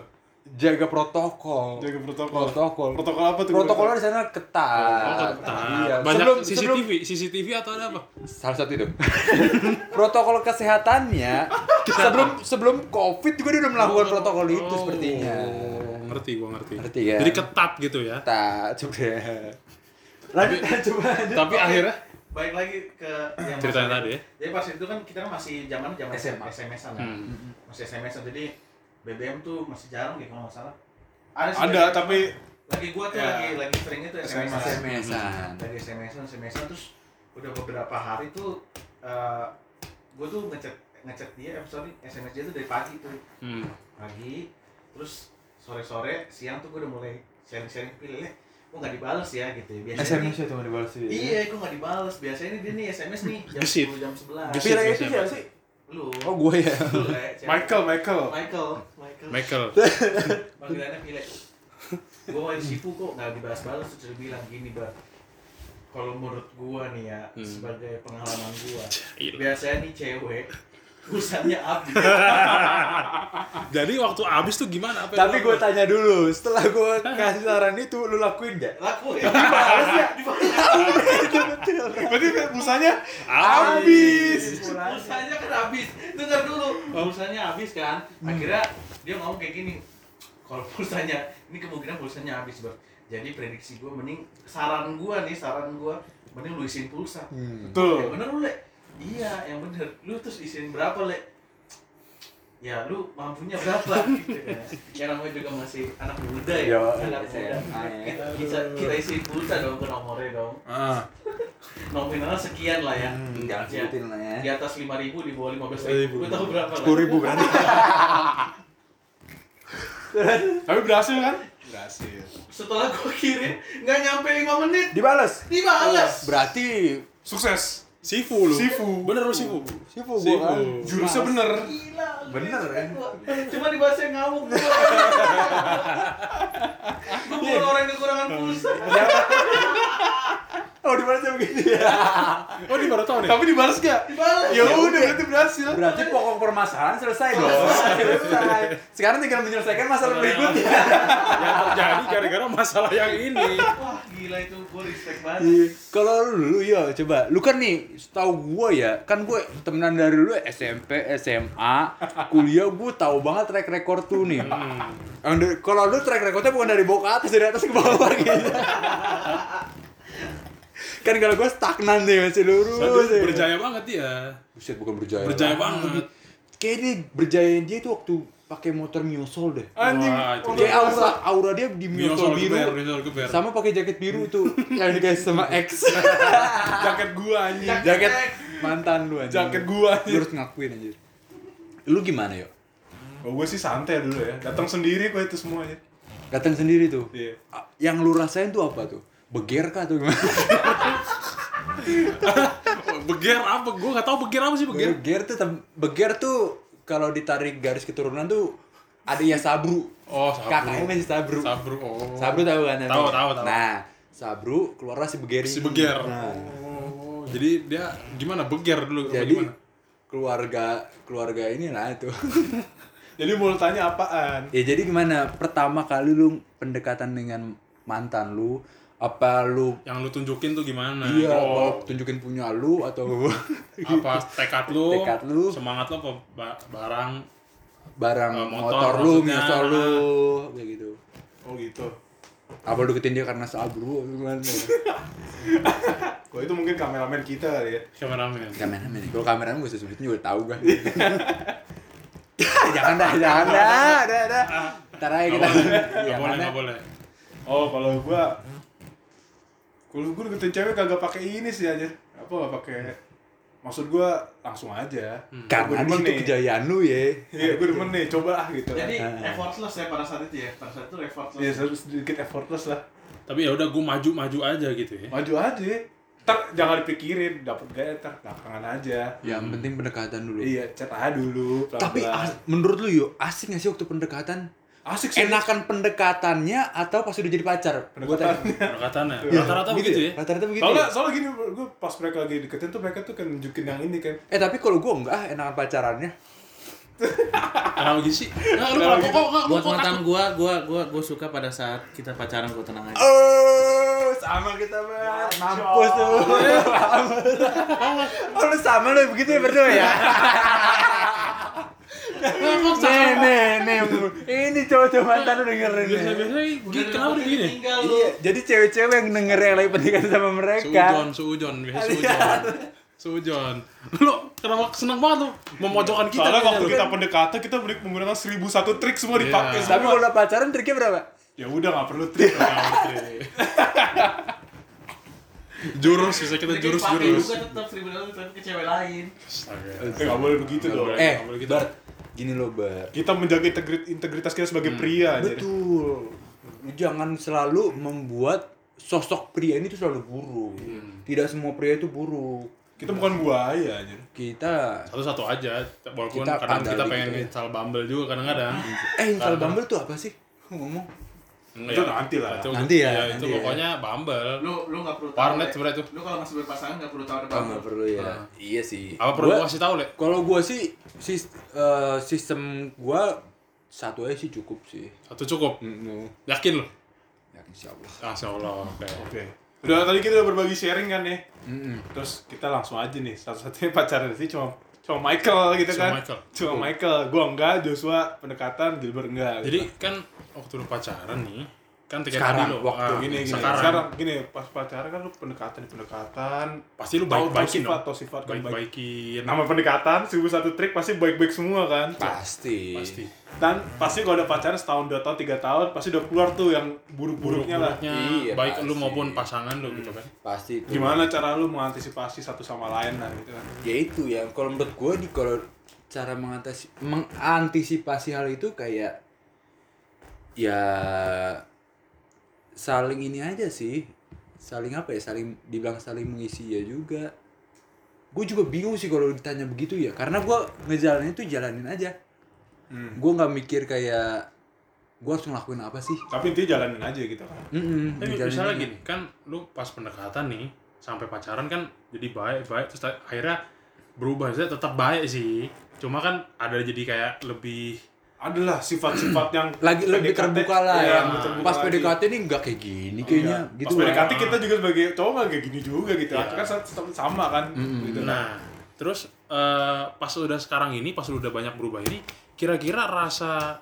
[SPEAKER 3] jaga protokol.
[SPEAKER 1] Jaga protokol.
[SPEAKER 3] protokol.
[SPEAKER 1] Protokol apa tuh?
[SPEAKER 3] Protokolnya di sana ketat.
[SPEAKER 2] Oh,
[SPEAKER 3] Iya.
[SPEAKER 2] ketat. Banyak
[SPEAKER 3] Sebelum- sebelum-
[SPEAKER 2] CCTV, CCTV atau ada apa?
[SPEAKER 3] salah satu itu. [laughs] protokol kesehatannya sebelum sebelum Covid juga dia udah melakukan Ah, protokol itu
[SPEAKER 2] Oh,
[SPEAKER 3] sepertinya.
[SPEAKER 2] Ngerti, gua ngerti.
[SPEAKER 3] Ngerti kan?
[SPEAKER 2] Jadi ketat gitu ya.
[SPEAKER 3] Tak Nah, coba. Lanjut coba lanjut.
[SPEAKER 2] Tapi akhirnya
[SPEAKER 4] balik lagi ke yang
[SPEAKER 2] Ceritanya
[SPEAKER 4] masalah.
[SPEAKER 2] tadi ya?
[SPEAKER 4] Jadi pas itu kan kita kan masih zaman zaman
[SPEAKER 3] SMA.
[SPEAKER 4] SMS-an ya.
[SPEAKER 2] Hmm.
[SPEAKER 4] Masih SMS-an. Jadi BBM tuh masih jarang ya kalau nggak salah. Ada sih.
[SPEAKER 1] Ada tapi
[SPEAKER 4] Lagi gua tuh
[SPEAKER 1] Ya.
[SPEAKER 4] lagi lagi sering itu SMS.
[SPEAKER 1] SMS.
[SPEAKER 3] SMS-an.
[SPEAKER 4] Lagi SMS-an, SMS-an terus udah beberapa hari tuh eh gua tuh ngechat ngechat dia, eh, sorry, SMS dia tuh dari pagi tuh.
[SPEAKER 2] Hmm.
[SPEAKER 4] Pagi terus sore-sore, siang tuh gua udah mulai sharing-sharing pilih. Eh, kok nggak dibalas ya gitu ya. Biasanya nih-
[SPEAKER 3] SMS itu mau dibalas sih.
[SPEAKER 4] Iya, kok nggak dibales. Biasanya nih dia nih SMS nih jam
[SPEAKER 2] Gesit.
[SPEAKER 4] 10 jam 11.
[SPEAKER 2] Gesit.
[SPEAKER 3] Pira itu siapa sih?
[SPEAKER 4] Lu.
[SPEAKER 3] Oh gue ya.
[SPEAKER 4] Lu, Le, cewek.
[SPEAKER 1] Michael Michael.
[SPEAKER 4] Michael. Michael.
[SPEAKER 2] Michael.
[SPEAKER 4] Panggilannya Pile. Gua mau disipu kok nggak dibales-bales terus dia bilang gini, Bang. Kalau menurut gua nih ya,
[SPEAKER 2] Hmm.
[SPEAKER 4] sebagai pengalaman gua,
[SPEAKER 2] Iya.
[SPEAKER 4] biasanya nih cewek urusannya abis.
[SPEAKER 2] Jadi waktu abis tuh gimana? Apa yang
[SPEAKER 3] Tapi
[SPEAKER 2] lu
[SPEAKER 3] gue
[SPEAKER 2] lakukan?
[SPEAKER 3] tanya dulu, setelah gue kasih saran itu, lu lakuin gak?
[SPEAKER 4] Laku ya. Dibales ya. Dibales.
[SPEAKER 1] Berarti busanya
[SPEAKER 2] abis.
[SPEAKER 4] Pulsanya kan habis. Dengar dulu. Pulsanya habis kan. Akhirnya dia ngomong kayak gini. Kalau pulsanya, ini kemungkinan pulsanya habis, Bang. Jadi prediksi gue mending saran gue nih, saran gue mending lu isiin pulsa.
[SPEAKER 3] Hmm.
[SPEAKER 4] Yang
[SPEAKER 1] Tuh.
[SPEAKER 4] bener lu, Le. Iya, yang bener. Lu terus isiin berapa, Le? Ya, lu mampunya berapa gitu ya. Ya namanya juga masih anak muda ya.
[SPEAKER 3] Yo,
[SPEAKER 4] anak
[SPEAKER 3] iya,
[SPEAKER 4] muda. Nah,
[SPEAKER 3] iya.
[SPEAKER 4] Kita, kita, kita isiin pulsa dong ke nomornya dong.
[SPEAKER 1] Ah.
[SPEAKER 4] Nominalnya sekian lah ya.
[SPEAKER 3] Jangan
[SPEAKER 4] Ya
[SPEAKER 3] sebutin lah
[SPEAKER 4] di
[SPEAKER 3] ya.
[SPEAKER 4] atas lima ribu di bawah lima belas ribu lu tahu berapa lah?
[SPEAKER 3] Sepuluh Hmm. ribu berarti.
[SPEAKER 1] Tapi berhasil kan? Berhasil.
[SPEAKER 4] setelah gua kirim nggak nyampe lima menit
[SPEAKER 3] Dibalas.
[SPEAKER 4] dibalas
[SPEAKER 3] Berarti
[SPEAKER 1] Sukses.
[SPEAKER 2] Sifu lu.
[SPEAKER 1] Sifu.
[SPEAKER 2] Bener lu Sifu.
[SPEAKER 3] Sifu gua kan.
[SPEAKER 1] Jurusnya bener.
[SPEAKER 4] gila
[SPEAKER 3] Bener,
[SPEAKER 4] gila,
[SPEAKER 3] kan?
[SPEAKER 4] gua. cuma dibahas yang ngamuk
[SPEAKER 3] [laughs]
[SPEAKER 4] gua gua bukan orang yang kekurangan pulsa
[SPEAKER 3] Ya. Oh dibalasnya begini ya.
[SPEAKER 2] Oh ini baru tau nih.
[SPEAKER 1] Tapi dibalas gak?
[SPEAKER 4] dibalas
[SPEAKER 1] Ya udah berarti berhasil.
[SPEAKER 3] Berarti pokok permasalahan selesai dong. selesai. Sekarang tinggal menyelesaikan masalah berikutnya.
[SPEAKER 2] yang terjadi Ya, gara-gara masalah yang ini.
[SPEAKER 4] wah gila itu gua respect
[SPEAKER 3] Iya.
[SPEAKER 4] banget
[SPEAKER 3] Kalau lu, lu ya coba, lu kan nih, tahu gua ya, kan gue temenan dari dulu SMP, SMA, kuliah gua tahu banget track record tuh nih.
[SPEAKER 2] Hmm.
[SPEAKER 3] Yang dari- Kalau lu track recordnya bukan dari bawah ke atas, dari atas ke bawah gitu. kan kalau gua stagnan nih masih lurus.
[SPEAKER 2] Aduh,
[SPEAKER 3] ya.
[SPEAKER 2] berjaya banget dia.
[SPEAKER 3] Buset bukan berjaya.
[SPEAKER 2] Berjaya
[SPEAKER 3] lagi.
[SPEAKER 2] banget.
[SPEAKER 3] Kayaknya berjaya dia tuh waktu pakai motor Miosol deh.
[SPEAKER 1] [laughs] Anjing.
[SPEAKER 2] Wah, itu
[SPEAKER 1] orang
[SPEAKER 3] Kayak aura,
[SPEAKER 1] berhasil.
[SPEAKER 3] aura dia di
[SPEAKER 2] Ah, Miosol
[SPEAKER 3] Miosol
[SPEAKER 2] geber,
[SPEAKER 3] biru.
[SPEAKER 2] miosol geber.
[SPEAKER 3] Sama pakai jaket biru tuh yang dikasih sama X.
[SPEAKER 2] [laughs]
[SPEAKER 1] Jaket gua anjing.
[SPEAKER 3] jaket mantan lu anjing.
[SPEAKER 1] Jaket gua
[SPEAKER 3] Lu
[SPEAKER 1] anjing.
[SPEAKER 3] harus ngakuin anjir. Lu gimana yo?
[SPEAKER 1] Oh, gua sih santai dulu ya. Datang sendiri gua itu semuanya.
[SPEAKER 3] Datang sendiri tuh.
[SPEAKER 1] Iya.
[SPEAKER 3] A- Yang lu rasain tuh apa tuh? Beger kah atau gimana?
[SPEAKER 2] Beger apa? Gue gak tau beger apa sih [laughs] beger.
[SPEAKER 3] Beger tuh tem- beger tuh kalau ditarik garis keturunan tuh ada ya sabru.
[SPEAKER 2] Oh, sabru.
[SPEAKER 3] Kakaknya masih sabru.
[SPEAKER 2] Sabru. Oh.
[SPEAKER 3] Sabru tahu kan?
[SPEAKER 2] Tahu, tahu, tahu.
[SPEAKER 3] Nah, Sabru keluarlah si Begeri.
[SPEAKER 2] Si Beger.
[SPEAKER 3] Nah,
[SPEAKER 1] Oh,
[SPEAKER 2] Jadi dia gimana? Beger dulu apa
[SPEAKER 3] jadi
[SPEAKER 2] gimana?
[SPEAKER 3] keluarga keluarga inilah itu. [laughs]
[SPEAKER 1] jadi mulutnya apaan?
[SPEAKER 3] ya jadi gimana? Pertama kali lu pendekatan dengan mantan lu apa lu
[SPEAKER 2] Yang lu tunjukin tuh gimana?
[SPEAKER 3] dia
[SPEAKER 2] Oh,
[SPEAKER 3] mau tunjukin punya lu atau [laughs]
[SPEAKER 2] apa tekad lu?
[SPEAKER 3] Tekad lu.
[SPEAKER 2] Semangat lu apa ba- barang
[SPEAKER 3] barang
[SPEAKER 2] Eh, motor
[SPEAKER 3] motor, lu,
[SPEAKER 2] maksudnya.
[SPEAKER 3] nyosor lu, kayak gitu.
[SPEAKER 1] Oh gitu.
[SPEAKER 3] Apa lu deketin dia karena sabru? atau Gimana?
[SPEAKER 1] Kalau itu mungkin kameramen kita kali ya.
[SPEAKER 2] kameramen?
[SPEAKER 3] kameramen kalau kameramen gue sebutin juga tahu kan [laughs] jangan dah jangan dah dah dah ntar aja
[SPEAKER 2] Gak
[SPEAKER 3] kita
[SPEAKER 2] boleh,
[SPEAKER 3] Iya,
[SPEAKER 2] gak boleh,
[SPEAKER 3] mana?
[SPEAKER 2] gak boleh.
[SPEAKER 1] Oh kalau gua kalau gua deketin cewek kagak pakai ini sih aja. Apa gak pakai? Maksud gua langsung aja.
[SPEAKER 3] [laughs]
[SPEAKER 2] Hmm.
[SPEAKER 1] Gua
[SPEAKER 3] karena di
[SPEAKER 1] demen
[SPEAKER 3] situ
[SPEAKER 1] nih.
[SPEAKER 3] kejayaan lu ya
[SPEAKER 1] Iya, gue demen nih, coba ah gitu.
[SPEAKER 4] Jadi
[SPEAKER 3] Ah.
[SPEAKER 4] effortless ya pada saat itu ya. Pada saat itu effortless.
[SPEAKER 1] Iya, sedikit effortless lah.
[SPEAKER 2] Tapi ya udah gue maju-maju aja gitu ya.
[SPEAKER 1] Maju aja. Ntar jangan dipikirin, dapet gaya ntar belakangan aja.
[SPEAKER 3] yang penting pendekatan dulu
[SPEAKER 1] Iya, chat aja dulu. pelan-pelan.
[SPEAKER 3] tapi as- menurut lu yo asik gak sih waktu pendekatan
[SPEAKER 1] asik sih.
[SPEAKER 3] enakan pendekatannya atau pas udah jadi pacar Gua tanya.
[SPEAKER 1] Pendekatan.
[SPEAKER 2] Pendekatannya. Rata-rata begitu ya.
[SPEAKER 3] rata-rata begitu
[SPEAKER 1] Soalnya,
[SPEAKER 3] Iya, gitu ya?
[SPEAKER 1] soalnya gini, gue pas mereka lagi deketin tuh mereka tuh kan nunjukin yang ini kan.
[SPEAKER 3] eh tapi kalau gua enggak ah, enakan pacarannya
[SPEAKER 2] Kenapa gitu sih?
[SPEAKER 3] Iya.
[SPEAKER 2] Nggak, lu kalau kok kok
[SPEAKER 5] buat mantan gua gua gua gua suka pada saat kita pacaran gua tenang aja
[SPEAKER 3] Oh, sama kita banget. Mampus tuh. oh, lu sama lu begitu ya berdua ya? nih, nih, nih. Ini cowok-cowok mantan lu dengerin
[SPEAKER 2] Biasa
[SPEAKER 3] nih.
[SPEAKER 2] biasa
[SPEAKER 4] Udah
[SPEAKER 2] kenapa
[SPEAKER 4] dapetin,
[SPEAKER 2] begini?
[SPEAKER 4] Tinggal lu.
[SPEAKER 3] Iya, jadi cewek-cewek yang denger yang lagi pendekatan sama mereka.
[SPEAKER 2] Sujon, sujon, biasa
[SPEAKER 3] Iya.
[SPEAKER 2] sujon. Sujon. Lu kenapa seneng banget lu memojokkan kita? gitu.
[SPEAKER 1] Soalnya
[SPEAKER 2] kayaknya
[SPEAKER 1] waktu
[SPEAKER 2] lu.
[SPEAKER 1] kita pendekatan kita beri- menggunakan 1001 trik semua
[SPEAKER 2] Iya.
[SPEAKER 1] dipakai
[SPEAKER 3] Tapi
[SPEAKER 1] semua.
[SPEAKER 3] kalau udah pacaran triknya berapa?
[SPEAKER 1] Ya udah nggak perlu trik.
[SPEAKER 2] Jurus bisa kita
[SPEAKER 4] Jadi
[SPEAKER 2] jurus
[SPEAKER 4] dipakai
[SPEAKER 2] jurus.
[SPEAKER 4] juga tetap seribu tapi ke cewek lain.
[SPEAKER 2] Astaga.
[SPEAKER 1] Nggak boleh begitu
[SPEAKER 2] Nggak
[SPEAKER 1] dong.
[SPEAKER 2] boleh.
[SPEAKER 3] Eh,
[SPEAKER 2] boleh gitu.
[SPEAKER 3] Bart, gini loh, Bart.
[SPEAKER 1] Kita menjaga integri- integritas kita sebagai pria aja.
[SPEAKER 3] Betul. Lu jangan selalu membuat sosok pria ini tuh selalu buruk.
[SPEAKER 2] Hmm.
[SPEAKER 3] Tidak semua pria itu buruk.
[SPEAKER 1] Kita bukan buaya aja.
[SPEAKER 3] Kita
[SPEAKER 2] Satu-satu aja, walaupun
[SPEAKER 3] Kita
[SPEAKER 2] kadang
[SPEAKER 3] pandai
[SPEAKER 2] kita
[SPEAKER 3] gitu
[SPEAKER 2] pengen
[SPEAKER 3] ya.
[SPEAKER 2] install Bumble juga kadang-kadang.
[SPEAKER 3] Eh, install
[SPEAKER 2] Karena-
[SPEAKER 3] Bumble tuh apa sih? Ngomong.
[SPEAKER 2] Enggak,
[SPEAKER 1] Itu nanti lah.
[SPEAKER 2] Itu-
[SPEAKER 3] Nanti ya,
[SPEAKER 2] itu
[SPEAKER 3] nanti ya.
[SPEAKER 2] pokoknya Bumble.
[SPEAKER 4] Lu lu enggak perlu tahu.
[SPEAKER 2] Warnet
[SPEAKER 4] Le.
[SPEAKER 2] sebenarnya itu.
[SPEAKER 4] Lu kalau masih berpasangan enggak perlu tahu ada
[SPEAKER 3] Oh,
[SPEAKER 4] apa.
[SPEAKER 3] nggak perlu ya. Iya sih.
[SPEAKER 2] Apa perlu gua
[SPEAKER 3] Gua-
[SPEAKER 2] kasih tahu, Le?
[SPEAKER 3] Kalau gua sih sis, eh, sistem gua satu aja sih cukup sih.
[SPEAKER 2] Satu cukup. Yakin lu?
[SPEAKER 3] Ya insyaallah.
[SPEAKER 2] Masya Allah. Oke.
[SPEAKER 1] Oke. Udah tadi kita udah berbagi sharing kan ya.
[SPEAKER 3] Mm-mm.
[SPEAKER 1] Terus kita langsung aja nih. Satu-satunya pacaran sih cuma cuma Michael gitu
[SPEAKER 2] Cuma
[SPEAKER 1] kan.
[SPEAKER 2] Michael.
[SPEAKER 1] Cuma Michael. Gua enggak, Joshua pendekatan, Gilbert enggak. gitu.
[SPEAKER 2] Jadi kan waktu lu pacaran nih, kan tiga
[SPEAKER 3] Sekarang,
[SPEAKER 2] kali lu.
[SPEAKER 3] waktu
[SPEAKER 2] ah,
[SPEAKER 1] gini gini. Sekarang.
[SPEAKER 2] Sekarang,
[SPEAKER 1] gini pas pacaran kan lu pendekatan pendekatan.
[SPEAKER 2] pasti lu
[SPEAKER 1] Tahu- tahu
[SPEAKER 2] baik-baikin
[SPEAKER 1] sifat,
[SPEAKER 2] dong.
[SPEAKER 1] tahu sifat kan baik.
[SPEAKER 2] Baik-baikin.
[SPEAKER 1] Nama pendekatan 1001 trik pasti baik-baik semua kan.
[SPEAKER 3] Pasti.
[SPEAKER 2] Pasti.
[SPEAKER 1] Dan pasti kalau udah pacaran setahun, dua tahun, tiga tahun pasti udah keluar tuh yang buruk-buruknya lah.
[SPEAKER 2] Buruk-buruknya,
[SPEAKER 3] Iya,
[SPEAKER 2] baik
[SPEAKER 3] pasti.
[SPEAKER 2] lu maupun pasangan lu gitu kan.
[SPEAKER 3] Pasti itu.
[SPEAKER 1] Gimana cara lu mengantisipasi satu sama lain lah gitu kan.
[SPEAKER 3] Ya itu ya. Kalau menurut gua di kalau cara mengatasi mengantisipasi hal itu kayak ya saling ini aja sih. Saling apa ya? Saling dibilang saling mengisi ya juga. Gue juga bingung sih kalau ditanya begitu ya. Karena gua ngejalanin itu jalanin aja.
[SPEAKER 1] Hmm.
[SPEAKER 3] gue nggak mikir kayak gue harus ngelakuin apa sih
[SPEAKER 1] Tapi intinya jalanin aja gitu kan.
[SPEAKER 3] Mm-mm,
[SPEAKER 2] Tapi
[SPEAKER 3] dijalanin
[SPEAKER 2] misalnya
[SPEAKER 3] aja.
[SPEAKER 2] gini, kan lu pas pendekatan nih, sampai pacaran kan jadi baik-baik, terus ta- akhirnya berubah. Saya tetap baik sih. Cuma kan ada jadi kayak lebih
[SPEAKER 1] Adalah sifat-sifat yang
[SPEAKER 3] lagi lebih
[SPEAKER 1] PDKT
[SPEAKER 3] terbuka lah
[SPEAKER 1] iya,
[SPEAKER 3] ya
[SPEAKER 1] lebih terbuka
[SPEAKER 3] pas
[SPEAKER 1] lagi.
[SPEAKER 3] PDKT ini nggak kayak gini kayaknya
[SPEAKER 1] Iya.
[SPEAKER 3] gitu
[SPEAKER 1] Pas
[SPEAKER 3] lah.
[SPEAKER 1] PDKT kita juga sebagai cowok nggak kayak gini juga gitu.
[SPEAKER 2] Iya.
[SPEAKER 1] Kan sa- sa- sama kan gitu. Nah,
[SPEAKER 2] Nah, terus eh, pas udah sekarang ini, pas udah banyak berubah ini, kira-kira rasa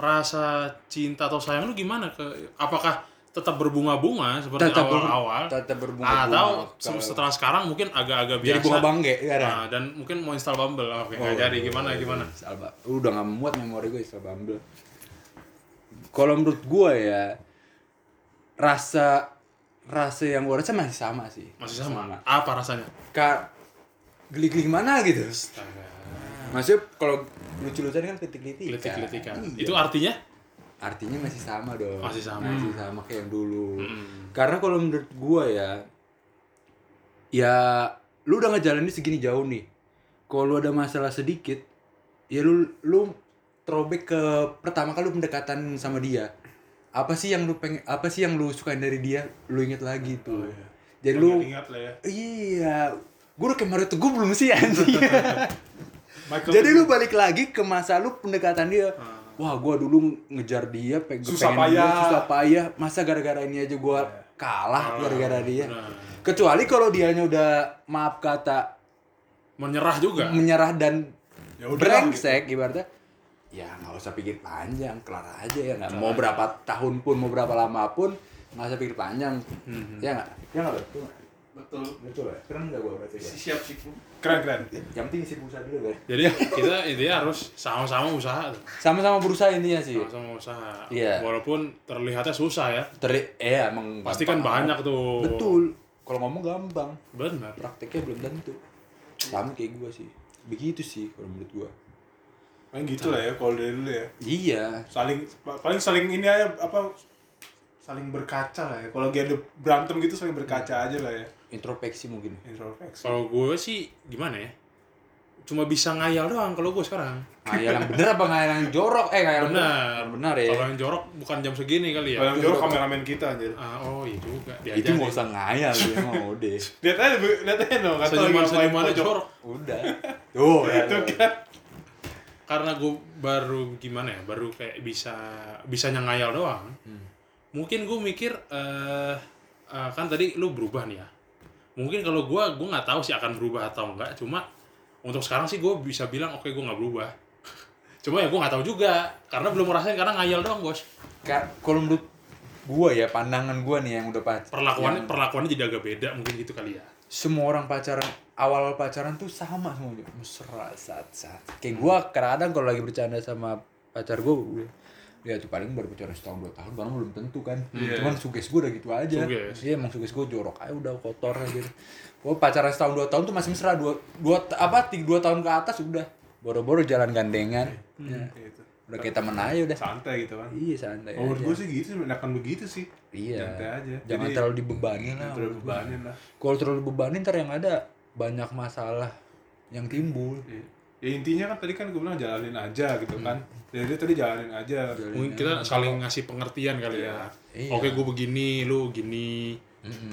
[SPEAKER 2] rasa cinta atau sayang lu gimana ke apakah tetap berbunga-bunga seperti
[SPEAKER 3] Tetap ber-
[SPEAKER 2] awal-awal
[SPEAKER 3] tetap berbunga-bunga.
[SPEAKER 2] atau se-
[SPEAKER 3] Kalau-
[SPEAKER 2] setelah sekarang mungkin agak-agak biasa
[SPEAKER 3] jadi bunga bangke ya Oh, iya, Ra?
[SPEAKER 2] Nah, dan mungkin mau install Bumble oke nggak jadi gimana gimana
[SPEAKER 3] Salba. Udah nggak muat memori gue soal Bumble. Kalau menurut gue ya rasa rasa yang gue rasa masih sama sih.
[SPEAKER 2] masih sama apa rasanya
[SPEAKER 3] Kak geli-geli mana gitu. Maksudnya kalau lucu-lucuan kan kritik-kritik.
[SPEAKER 2] Gelitik-gelitikan.
[SPEAKER 3] Iya.
[SPEAKER 2] itu artinya
[SPEAKER 3] artinya masih sama dong
[SPEAKER 2] Masih sama.
[SPEAKER 3] masih sama kayak yang dulu karena kalau menurut gua ya ya lu udah ngejalanin segini jauh nih kalau lu ada masalah sedikit ya lu lu throwback ke pertama kali lu pendekatan sama dia apa sih yang lu pengen apa sih yang lu sukain dari dia lu inget lagi tuh
[SPEAKER 1] iya.
[SPEAKER 3] jadi
[SPEAKER 1] Biar
[SPEAKER 3] lu
[SPEAKER 1] ingat lah ya.
[SPEAKER 3] iya gue udah kemarin tuh gue belum sih anjing
[SPEAKER 1] Michael
[SPEAKER 3] jadi
[SPEAKER 1] tuh Hmm.
[SPEAKER 3] lu balik lagi ke masa lu pendekatan dia wah gue dulu ngejar dia pe-
[SPEAKER 1] Susah
[SPEAKER 3] pengen dia,
[SPEAKER 1] payah. Iya. Hmm.
[SPEAKER 3] susah payah masa gara-gara ini aja gue kalah gara-gara dia
[SPEAKER 2] benar.
[SPEAKER 3] kecuali kalau dianya udah maaf kata
[SPEAKER 2] menyerah juga
[SPEAKER 3] menyerah dan
[SPEAKER 1] Ya udah lah,
[SPEAKER 3] brengsek ibaratnya ya nggak usah pikir panjang kelar aja ya nggak mau berapa tahun pun mau berapa lama pun nggak usah pikir panjang
[SPEAKER 1] Hmm.
[SPEAKER 3] ya nggak ya nggak betul
[SPEAKER 4] Betul.
[SPEAKER 3] betul ya keren nggak gue berarti
[SPEAKER 4] Si siap siku.
[SPEAKER 1] keren keren.
[SPEAKER 3] yang penting isi pulsa dulu guys
[SPEAKER 2] jadi kita intinya harus sama-sama usaha tuh.
[SPEAKER 3] sama-sama berusaha intinya sih
[SPEAKER 2] sama-sama usaha
[SPEAKER 3] Iya.
[SPEAKER 2] walaupun terlihatnya susah ya
[SPEAKER 3] Teri eh emang
[SPEAKER 2] pasti kan
[SPEAKER 3] gampang.
[SPEAKER 2] banyak tuh
[SPEAKER 3] betul kalau ngomong gampang
[SPEAKER 2] benar
[SPEAKER 3] prakteknya belum tentu sama kayak gue sih begitu sih kalau menurut gue
[SPEAKER 1] Main gitu lah ya kalau dari dulu ya.
[SPEAKER 3] iya
[SPEAKER 1] Saling paling saling ini aja apa saling berkaca lah ya. Kalau lagi ada berantem gitu saling berkaca aja lah ya.
[SPEAKER 3] introspeksi mungkin
[SPEAKER 1] Introspeksi.
[SPEAKER 2] kalau gue sih gimana ya cuma bisa ngayal doang kalau gue sekarang
[SPEAKER 3] ngayal yang bener apa ngayal yang jorok eh ngayal yang
[SPEAKER 2] benar
[SPEAKER 3] benar ya
[SPEAKER 2] kalau yang jorok bukan jam segini kali
[SPEAKER 3] Iya.
[SPEAKER 2] ya
[SPEAKER 1] Kalau yang jorok kameramen kita anjir.
[SPEAKER 2] ah, oh iya juga
[SPEAKER 3] itu
[SPEAKER 2] diajarin.
[SPEAKER 3] nggak usah ngayal ya mau deh
[SPEAKER 1] Lihat aja, Bu. lihat aja dong. Kata lagi
[SPEAKER 2] senyuman
[SPEAKER 1] ngapain
[SPEAKER 2] senyumannya
[SPEAKER 1] pojok.
[SPEAKER 2] jorok
[SPEAKER 3] udah tuh ya,
[SPEAKER 1] Itu
[SPEAKER 3] tuh.
[SPEAKER 1] kan.
[SPEAKER 2] karena gue baru gimana ya baru kayak bisa bisanya ngayal doang mungkin gue mikir eh eh, kan tadi lu berubah nih ya mungkin kalau gue gue nggak tahu sih akan berubah atau enggak cuma untuk sekarang sih gue bisa bilang oke gue nggak berubah [laughs] cuma ya gue nggak tahu juga karena belum ngerasain karena ngayal doang bos
[SPEAKER 3] Ka- kalau menurut gua ya pandangan gua nih yang udah pacaran
[SPEAKER 2] perlakuannya perlakuannya jadi agak beda mungkin gitu kali ya
[SPEAKER 3] semua orang pacaran awal pacaran tuh sama semuanya mesra saat saat kayak gua kadang-kadang kalau lagi bercanda sama pacar gua gua bilang, ya tuh paling baru pacaran setahun dua tahun barang belum tentu kan
[SPEAKER 1] Iya.
[SPEAKER 3] cuman suges gua udah gitu aja
[SPEAKER 2] Suges.
[SPEAKER 3] iya emang suges gua jorok aja udah kotor aja gitu gua pacaran setahun dua tahun tuh masih mesra dua dua apa tiga dua tahun ke atas udah boro-boro jalan gandengan Ya.
[SPEAKER 1] Gitu.
[SPEAKER 3] udah kayak temen aja udah
[SPEAKER 1] Santai gitu kan.
[SPEAKER 3] iya santai
[SPEAKER 1] Kalau menurut
[SPEAKER 3] aja.
[SPEAKER 1] gue sih gitu, sih, akan begitu sih.
[SPEAKER 3] Iya.
[SPEAKER 1] Santai aja.
[SPEAKER 3] Jangan
[SPEAKER 1] Jadi,
[SPEAKER 3] terlalu dibebani lah.
[SPEAKER 1] terlalu bebanin lah.
[SPEAKER 3] Kalau terlalu dibebani ntar yang ada banyak masalah yang timbul.
[SPEAKER 1] Iya. Ya intinya kan tadi kan gue bilang jalanin aja gitu kan.
[SPEAKER 3] Hmm.
[SPEAKER 1] Jadi tadi jalanin aja.
[SPEAKER 2] mungkin kita saling ngasih pengertian kali ya
[SPEAKER 3] Iya.
[SPEAKER 2] oke gue begini lu gini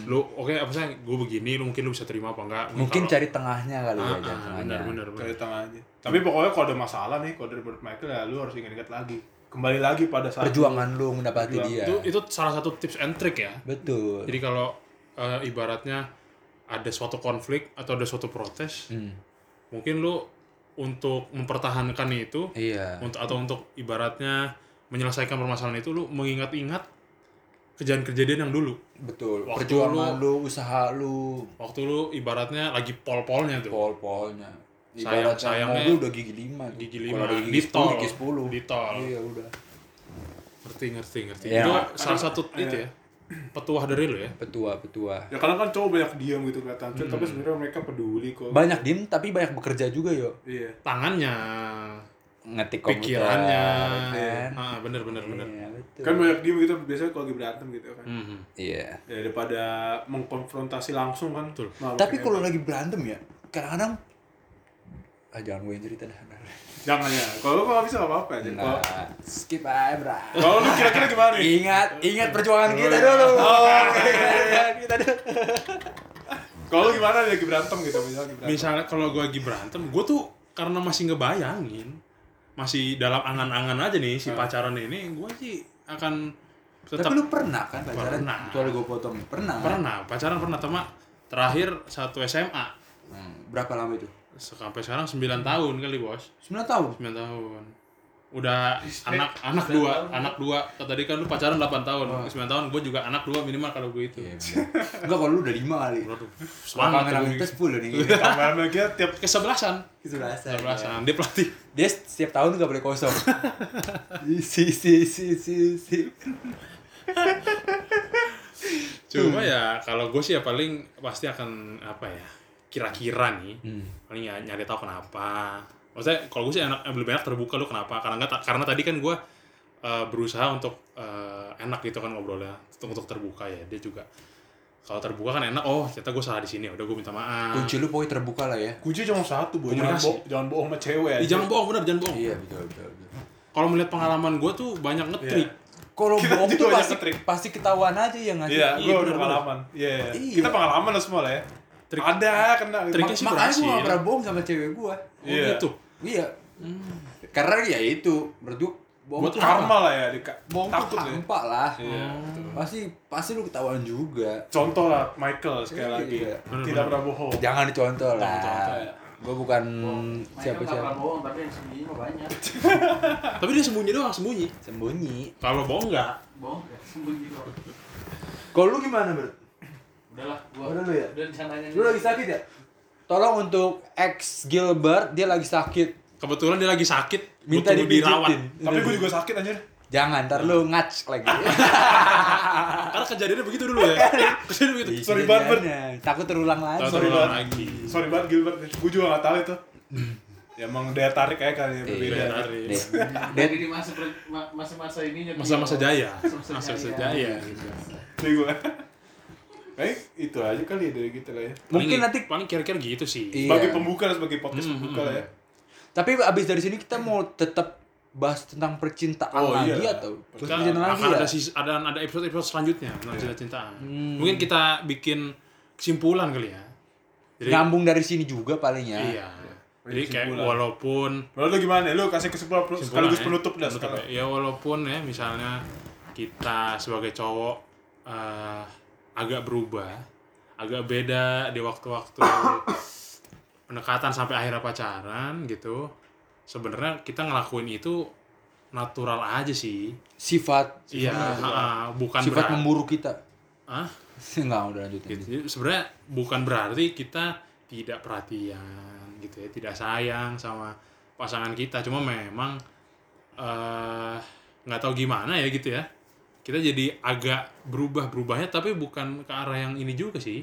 [SPEAKER 2] lu oke apa sih gue begini lu mungkin lu bisa terima apa enggak
[SPEAKER 3] Mungkin
[SPEAKER 2] kalau-
[SPEAKER 3] cari tengahnya kali ya,
[SPEAKER 2] ah,
[SPEAKER 3] jalan
[SPEAKER 2] ah,
[SPEAKER 3] tengahnya.
[SPEAKER 2] benar benar benar.
[SPEAKER 1] Dari tengah aja. Tapi pokoknya kalau ada masalah nih, kalau dari menurut Michael ya lu harus ingat-ingat lagi. Kembali lagi pada saat
[SPEAKER 3] Perjuangan lu mendapati dia.
[SPEAKER 2] itu itu salah satu tips and trick ya
[SPEAKER 3] Betul.
[SPEAKER 2] jadi kalau eh, ibaratnya ada suatu konflik atau ada suatu protes
[SPEAKER 3] Hmm.
[SPEAKER 2] mungkin lu untuk mempertahankan itu
[SPEAKER 3] Iya.
[SPEAKER 2] untuk atau untuk ibaratnya menyelesaikan permasalahan itu lu mengingat-ingat kejadian-kejadian yang dulu
[SPEAKER 3] Betul.
[SPEAKER 2] Waktu
[SPEAKER 3] Perjuangan lu, usaha lu,
[SPEAKER 2] waktu lu ibaratnya lagi pol-polnya tuh
[SPEAKER 3] pol-polnya.
[SPEAKER 2] Sayang-
[SPEAKER 3] Ibaratnya
[SPEAKER 2] sayangnya
[SPEAKER 3] mobil udah gigi lima. tuh.
[SPEAKER 2] gigi
[SPEAKER 3] Kalau
[SPEAKER 2] lima
[SPEAKER 3] udah
[SPEAKER 2] di
[SPEAKER 3] sepuluh,
[SPEAKER 2] tol
[SPEAKER 3] gigi sepuluh.
[SPEAKER 2] di tol
[SPEAKER 3] Iya udah.
[SPEAKER 2] ngerti ngerti ngerti
[SPEAKER 3] Iya.
[SPEAKER 2] itu salah satu itu ya petuah dari lu ya
[SPEAKER 3] Petua, petua.
[SPEAKER 1] Ya kadang kan cowok banyak diam gitu kelihatan cuek,
[SPEAKER 3] Hmm.
[SPEAKER 1] tapi sebenarnya mereka peduli kok.
[SPEAKER 3] Banyak diem tapi banyak bekerja juga yo.
[SPEAKER 1] Iya.
[SPEAKER 2] tangannya
[SPEAKER 3] Ngetik komputer.
[SPEAKER 2] pikirannya
[SPEAKER 3] kan?
[SPEAKER 2] ah bener bener bener
[SPEAKER 3] Iya, betul.
[SPEAKER 1] Kan banyak diam gitu biasanya kalau lagi berantem gitu kan.
[SPEAKER 2] Mhm.
[SPEAKER 3] Iya.
[SPEAKER 1] Ya daripada mengkonfrontasi langsung kan.
[SPEAKER 2] Betul.
[SPEAKER 1] Malah
[SPEAKER 3] Tapi
[SPEAKER 1] kayak-
[SPEAKER 3] kalau lagi berantem ya, kadang-kadang ah, jangan gue yang cerita dah.
[SPEAKER 1] jangan ya. Kalau lu nggak bisa nggak apa-apa aja.
[SPEAKER 3] Nah,
[SPEAKER 2] Oh.
[SPEAKER 1] Kalau-
[SPEAKER 3] skip aja, bro.
[SPEAKER 1] Kalau lu kira-kira gimana nih?
[SPEAKER 3] Ingat, ingat perjuangan
[SPEAKER 2] Oh, iya.
[SPEAKER 3] kita dulu. Perjuangan kita dulu.
[SPEAKER 1] Kalau lu gimana nih lagi berantem gitu misalnya lagi berantem.
[SPEAKER 2] misalnya kalau gue lagi berantem gue tuh karena masih ngebayangin masih dalam angan-angan aja nih si pacaran ini gue sih akan tetap
[SPEAKER 3] Tapi lu pernah kan pacaran?
[SPEAKER 2] Pernah.
[SPEAKER 3] Kecuali gue potong. Pernah. kan?
[SPEAKER 2] pernah pacaran pernah teman terakhir satu SMA
[SPEAKER 3] Hmm, berapa lama itu?
[SPEAKER 2] sampai sekarang 9 tahun kali bos
[SPEAKER 3] 9 tahun.
[SPEAKER 2] 9 tahun udah anak anak dua anak dua tadi kan lu pacaran 8 tahun 9 tahun gue juga anak dua minimal kalau gue itu
[SPEAKER 3] Iya, bener. Enggak kalau lu udah 5 kali.
[SPEAKER 2] Waduh, semangat tuh
[SPEAKER 3] Kamera
[SPEAKER 2] Iya.
[SPEAKER 3] kita
[SPEAKER 2] gue.
[SPEAKER 3] 10 nih.
[SPEAKER 1] Kameramen kita tiap
[SPEAKER 2] kesebelasan
[SPEAKER 3] Itu rasa.
[SPEAKER 2] kesebelasan dia pelatih
[SPEAKER 3] Dia setiap tahun tuh gak boleh
[SPEAKER 2] [laughs]
[SPEAKER 3] kosong. si si si si si.
[SPEAKER 2] Cuma ya kalau gue sih ya paling pasti akan apa ya kira-kira nih paling ya nyari tahu kenapa. Maksudnya kalau gue sih enak eh, lebih enak terbuka lu kenapa karena nggak ta- karena tadi kan gue eh, berusaha untuk eh, enak gitu kan ngobrolnya untuk, untuk terbuka ya dia juga kalau terbuka kan enak oh ternyata gue salah di sini udah gue minta maaf.
[SPEAKER 3] Kunci lu pokoknya terbuka lah ya.
[SPEAKER 1] kunci cuma satu, Bu. Jangan,
[SPEAKER 2] Komunikasi.
[SPEAKER 1] bo- jangan bohong sama cewek.
[SPEAKER 2] Ih,
[SPEAKER 1] aja.
[SPEAKER 2] jangan bohong bener jangan bohong.
[SPEAKER 3] Iya betul betul. betul.
[SPEAKER 2] Kalau melihat pengalaman gue tuh banyak ngetrik.
[SPEAKER 3] Kalau
[SPEAKER 1] Kita
[SPEAKER 3] bohong
[SPEAKER 1] juga
[SPEAKER 3] tuh
[SPEAKER 1] banyak
[SPEAKER 3] pasti
[SPEAKER 1] ngetrik.
[SPEAKER 3] pasti ketahuan aja ya nggak sih?
[SPEAKER 1] Iya,
[SPEAKER 2] Iya,
[SPEAKER 1] gue
[SPEAKER 2] bener,
[SPEAKER 1] udah
[SPEAKER 2] bener.
[SPEAKER 1] pengalaman. Iya, iya.
[SPEAKER 3] Iya.
[SPEAKER 1] kita pengalaman lah semua lah ya.
[SPEAKER 2] Trik-
[SPEAKER 1] Ada kena.
[SPEAKER 2] triknya
[SPEAKER 1] Mak-
[SPEAKER 2] sih
[SPEAKER 3] Makanya gue
[SPEAKER 2] berhasil.
[SPEAKER 3] nggak pernah bohong sama cewek gue.
[SPEAKER 2] Oh
[SPEAKER 1] Iya.
[SPEAKER 2] gitu.
[SPEAKER 3] Iya. Karena ya itu berdua bohong
[SPEAKER 1] Buat
[SPEAKER 3] tuh
[SPEAKER 1] Hmm. karma
[SPEAKER 3] hampa.
[SPEAKER 1] lah ya, di,
[SPEAKER 3] Bohong tuh
[SPEAKER 1] takut ya.
[SPEAKER 3] hampa lah. Hmm.
[SPEAKER 1] Iya.
[SPEAKER 3] Pasti pasti lu ketahuan juga.
[SPEAKER 1] Contoh lah Michael sekali
[SPEAKER 3] Iya,
[SPEAKER 1] lagi,
[SPEAKER 3] iya.
[SPEAKER 1] tidak
[SPEAKER 2] Bener, bener.
[SPEAKER 1] pernah bohong.
[SPEAKER 3] Jangan dicontoh
[SPEAKER 1] dicontoh,
[SPEAKER 3] lah.
[SPEAKER 1] ya.
[SPEAKER 3] Gue bukan Hmm,
[SPEAKER 4] Siapa nggak pernah
[SPEAKER 3] siapa-siapa.
[SPEAKER 4] bohong, tapi yang sembunyi mah banyak.
[SPEAKER 2] Tapi dia sembunyi doang, sembunyi.
[SPEAKER 3] Sembunyi.
[SPEAKER 2] Kalau bohong enggak?
[SPEAKER 4] Bohong nggak? sembunyi kok.
[SPEAKER 3] Kalau lu gimana bro?
[SPEAKER 4] Udahlah, gua.
[SPEAKER 3] Udah lu ya?
[SPEAKER 4] Udah jangan nanya.
[SPEAKER 3] Lu lagi sakit ya? Tolong untuk ex Gilbert dia lagi sakit.
[SPEAKER 2] Kebetulan dia lagi sakit,
[SPEAKER 3] Minta
[SPEAKER 2] butuh dirawat.
[SPEAKER 3] dipijitin.
[SPEAKER 1] Tapi
[SPEAKER 2] iya.
[SPEAKER 1] gue juga sakit anjir.
[SPEAKER 3] Jangan, ntar
[SPEAKER 1] Iya.
[SPEAKER 3] lu ngac lagi.
[SPEAKER 2] Karena kejadiannya begitu dulu ya. Kejadiannya begitu.
[SPEAKER 1] [laughs] Sorry banget, Bert.
[SPEAKER 3] Kejadiannya. Takut terulang lagi.
[SPEAKER 1] Sorry
[SPEAKER 2] Sorry
[SPEAKER 1] banget.
[SPEAKER 2] lagi.
[SPEAKER 1] Sorry banget Gilbert, gue juga gak tahu itu. ya emang daya tarik aja kali ya
[SPEAKER 2] Beda
[SPEAKER 1] berbeda.
[SPEAKER 2] dari
[SPEAKER 3] [laughs] Deh.
[SPEAKER 4] Jadi di masa per- ma- masa-masa ini
[SPEAKER 2] Masa-masa jaya.
[SPEAKER 4] Iya. Masa-masa
[SPEAKER 2] Masa-masa
[SPEAKER 4] jaya.
[SPEAKER 2] jaya.
[SPEAKER 1] Jadi gue. Iya, [laughs] Baik, itu aja kali ya dari kita lah ya.
[SPEAKER 3] Mungkin
[SPEAKER 2] Paling-
[SPEAKER 3] nanti
[SPEAKER 2] paling kira-kira gitu sih.
[SPEAKER 3] Iya.
[SPEAKER 1] Sebagai pembuka lah, sebagai podcast
[SPEAKER 2] Hmm,
[SPEAKER 1] pembuka
[SPEAKER 2] hmm,
[SPEAKER 1] lah ya.
[SPEAKER 3] Tapi abis dari sini kita mau tetap bahas tentang percintaan
[SPEAKER 1] Oh, iya.
[SPEAKER 3] lagi atau
[SPEAKER 2] Kita
[SPEAKER 3] percintaan lagi
[SPEAKER 2] akan
[SPEAKER 3] ya?
[SPEAKER 2] ada, sis- ada ada episode-episode selanjutnya tentang cerita cintaan. Mungkin kita bikin kesimpulan kali ya. Jadi
[SPEAKER 3] Nyambung dari sini juga paling ya.
[SPEAKER 2] iya. Jadi kayak
[SPEAKER 1] Kesimpulan.
[SPEAKER 2] walaupun
[SPEAKER 1] Menurut lu gimana? Lu kasih kesimpulan pelu-
[SPEAKER 2] kesimpulan
[SPEAKER 1] sekaligus
[SPEAKER 2] ya,
[SPEAKER 1] penutup dah
[SPEAKER 2] penutup
[SPEAKER 1] sekarang.
[SPEAKER 2] ya. Ya, walaupun ya misalnya kita sebagai cowok eh, agak berubah, agak beda di
[SPEAKER 1] [coughs]
[SPEAKER 2] waktu-waktu pendekatan sampai akhirnya pacaran gitu. Sebenarnya kita ngelakuin itu natural aja sih.
[SPEAKER 3] Sifat
[SPEAKER 2] Iya, ha-ha, bukan
[SPEAKER 3] sifat
[SPEAKER 2] berat-
[SPEAKER 3] memburu kita. [laughs]
[SPEAKER 2] Hah?
[SPEAKER 3] Enggak udah lanjutin.
[SPEAKER 2] gitu. Jadi sebenarnya bukan berarti kita tidak perhatian gitu ya, tidak sayang sama pasangan kita. Cuma memang eh, nggak tahu gimana ya gitu ya. Kita jadi agak berubah-berubahnya tapi bukan ke arah yang ini juga sih.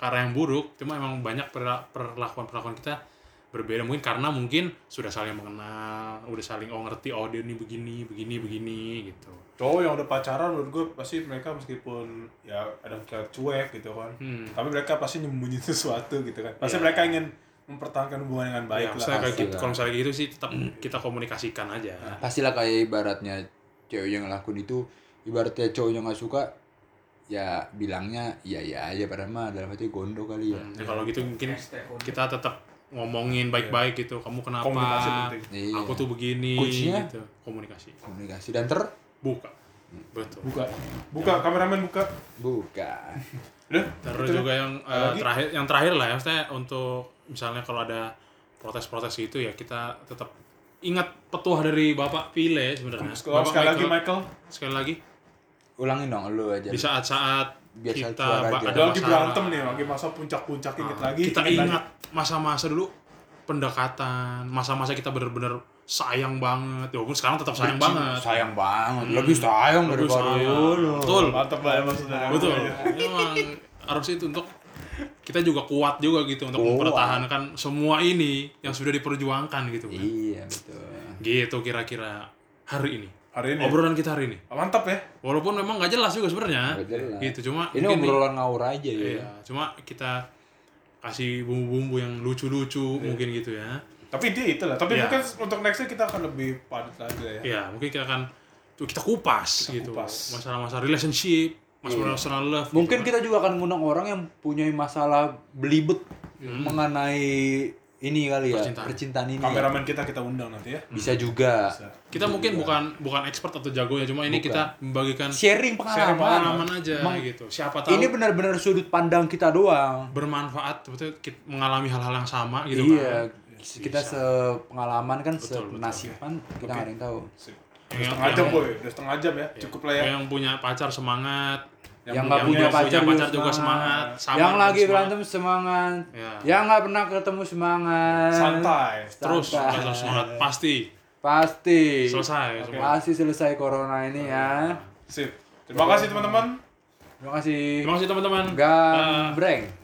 [SPEAKER 2] Ke arah yang buruk, cuma emang banyak perla- perlakuan-perlakuan kita berbeda mungkin karena mungkin sudah saling mengenal, udah saling oh ngerti oh dia ini begini, begini, begini gitu.
[SPEAKER 1] Cowok yang udah pacaran menurut gue pasti mereka meskipun ya ada kayak cuek gitu kan.
[SPEAKER 2] Hmm.
[SPEAKER 1] Tapi mereka pasti nyembunyiin [laughs] sesuatu gitu kan. Pasti
[SPEAKER 2] Iya.
[SPEAKER 1] mereka ingin mempertahankan hubungan dengan baik
[SPEAKER 2] ya,
[SPEAKER 1] lah.
[SPEAKER 2] maksudnya kayak
[SPEAKER 3] pasti
[SPEAKER 2] gitu,
[SPEAKER 3] lah.
[SPEAKER 2] kalau misalnya kayak gitu sih tetap kita komunikasikan aja.
[SPEAKER 3] Pastilah kayak ibaratnya cewek yang ngelakuin itu ibaratnya cowoknya nggak suka ya bilangnya iya iya aja padahal mah dalam hati gondo kali ya.
[SPEAKER 2] Hmm, ya kalau gitu mungkin
[SPEAKER 4] Hashtag on.
[SPEAKER 2] kita tetap ngomongin baik-baik gitu. Kamu kenapa?
[SPEAKER 1] Komunikasi penting.
[SPEAKER 3] Iya.
[SPEAKER 2] Aku tuh begini
[SPEAKER 3] Kuncinya?
[SPEAKER 2] gitu. Komunikasi.
[SPEAKER 3] komunikasi dan
[SPEAKER 2] [laughs]
[SPEAKER 3] ter
[SPEAKER 2] Buka. Betul.
[SPEAKER 1] Buka. Buka kameramen buka.
[SPEAKER 3] buka.
[SPEAKER 1] Udah.
[SPEAKER 2] Iya. Terus
[SPEAKER 1] gitu
[SPEAKER 2] juga yang eh,
[SPEAKER 1] Lagi?
[SPEAKER 2] terakhir yang terakhir lah ya maksudnya untuk misalnya kalau ada protes-protes gitu ya kita tetap ingat petuah dari Bapak Pile sebenarnya.
[SPEAKER 1] Sekali, sekali lagi Michael.
[SPEAKER 2] Sekali lagi
[SPEAKER 3] Ulangin dong lu aja.
[SPEAKER 2] di saat-saat
[SPEAKER 3] Biar
[SPEAKER 2] kita
[SPEAKER 3] suara
[SPEAKER 2] ba- ada
[SPEAKER 3] aja.
[SPEAKER 1] Udah lagi
[SPEAKER 2] masalah,
[SPEAKER 1] berantem nih, lagi masa puncak-puncak inget
[SPEAKER 2] Ah,
[SPEAKER 1] lagi.
[SPEAKER 2] kita
[SPEAKER 1] lagi.
[SPEAKER 2] ingat masa-masa dulu pendekatan masa-masa kita bener-bener sayang banget ya walaupun sekarang tetap sayang banget Hmm.
[SPEAKER 3] Sayang banget. Lebih sayang
[SPEAKER 2] Lebih
[SPEAKER 3] daripada
[SPEAKER 2] sayang.
[SPEAKER 3] dulu.
[SPEAKER 2] betul
[SPEAKER 1] Mantap lah emang saudara.
[SPEAKER 2] betul Ya, memang harus itu untuk kita juga kuat juga gitu untuk
[SPEAKER 3] Kuat.
[SPEAKER 2] mempertahankan semua ini yang sudah diperjuangkan gitu kan.
[SPEAKER 3] Iya betul.
[SPEAKER 2] gitu kira-kira hari ini
[SPEAKER 1] Hari ini.
[SPEAKER 2] obrolan kita hari ini
[SPEAKER 1] Mantap ya.
[SPEAKER 2] walaupun memang nggak jelas juga sebenarnya
[SPEAKER 3] Nggak jelas.
[SPEAKER 2] gitu cuma
[SPEAKER 3] Ini
[SPEAKER 2] mungkin-
[SPEAKER 3] obrolan ngawur aja ya.
[SPEAKER 2] iya cuma kita kasih bumbu-bumbu yang
[SPEAKER 3] Iya.
[SPEAKER 2] lucu-lucu mungkin gitu ya
[SPEAKER 1] Tapi dia itu lah. Tapi
[SPEAKER 2] Iya.
[SPEAKER 1] mungkin untuk nextnya kita akan lebih padat lagi lah ya.
[SPEAKER 3] Iya.
[SPEAKER 2] ya mungkin kita akan tuh kita kupas
[SPEAKER 1] Kita
[SPEAKER 2] gitu
[SPEAKER 1] kupas.
[SPEAKER 2] masalah-masalah relationship masalah personal love
[SPEAKER 3] Iya. Mungkin
[SPEAKER 2] gitu.
[SPEAKER 3] kita juga akan ngundang orang yang punya masalah belibet mengenai ini kali ya
[SPEAKER 2] Hmm. Percintaan. Hmm.
[SPEAKER 3] percintaan, ini.
[SPEAKER 1] Kameramen kita kita undang nanti ya.
[SPEAKER 3] Bisa juga
[SPEAKER 1] Bisa.
[SPEAKER 2] kita mungkin bukan bukan expert atau jago ya cuma ini
[SPEAKER 3] Iya. Bukan.
[SPEAKER 2] kita membagikan sharing
[SPEAKER 3] sharing pengalaman.
[SPEAKER 2] pengalaman aja
[SPEAKER 3] Emang
[SPEAKER 2] gitu siapa tahu
[SPEAKER 3] Ini benar-benar sudut pandang kita doang.
[SPEAKER 2] bermanfaat betul kita mengalami hal-hal yang sama gitu
[SPEAKER 3] iya,
[SPEAKER 2] kan
[SPEAKER 3] kita sepengalaman kan
[SPEAKER 2] Betul, betul.
[SPEAKER 3] senasiban kita nggak ada yang tahu.
[SPEAKER 1] Sip.
[SPEAKER 2] Iya.
[SPEAKER 1] Udah
[SPEAKER 2] Yang-
[SPEAKER 1] setengah
[SPEAKER 2] yang-
[SPEAKER 1] jam boy, udah setengah jam ya.
[SPEAKER 2] Iya.
[SPEAKER 1] Cukup lah ya.
[SPEAKER 2] yang punya pacar semangat
[SPEAKER 3] Yang nggak punya
[SPEAKER 2] yang
[SPEAKER 3] pacar,
[SPEAKER 2] punya pacar juga semangat, sama
[SPEAKER 3] yang
[SPEAKER 2] juga
[SPEAKER 3] lagi
[SPEAKER 2] semangat.
[SPEAKER 3] berantem semangat,
[SPEAKER 2] Ya.
[SPEAKER 3] yang nggak pernah ketemu semangat.
[SPEAKER 1] Santai.
[SPEAKER 2] terus
[SPEAKER 3] Santai.
[SPEAKER 2] nggak terus semangat pasti
[SPEAKER 3] Pasti.
[SPEAKER 2] selesai Oh, iya.
[SPEAKER 1] Oke.
[SPEAKER 2] semua.
[SPEAKER 3] Pasti selesai corona ini ya.
[SPEAKER 1] Sip. Terima kasih teman-teman.
[SPEAKER 3] Terima kasih.
[SPEAKER 2] terima kasih teman-teman Dah.
[SPEAKER 3] Gambreng.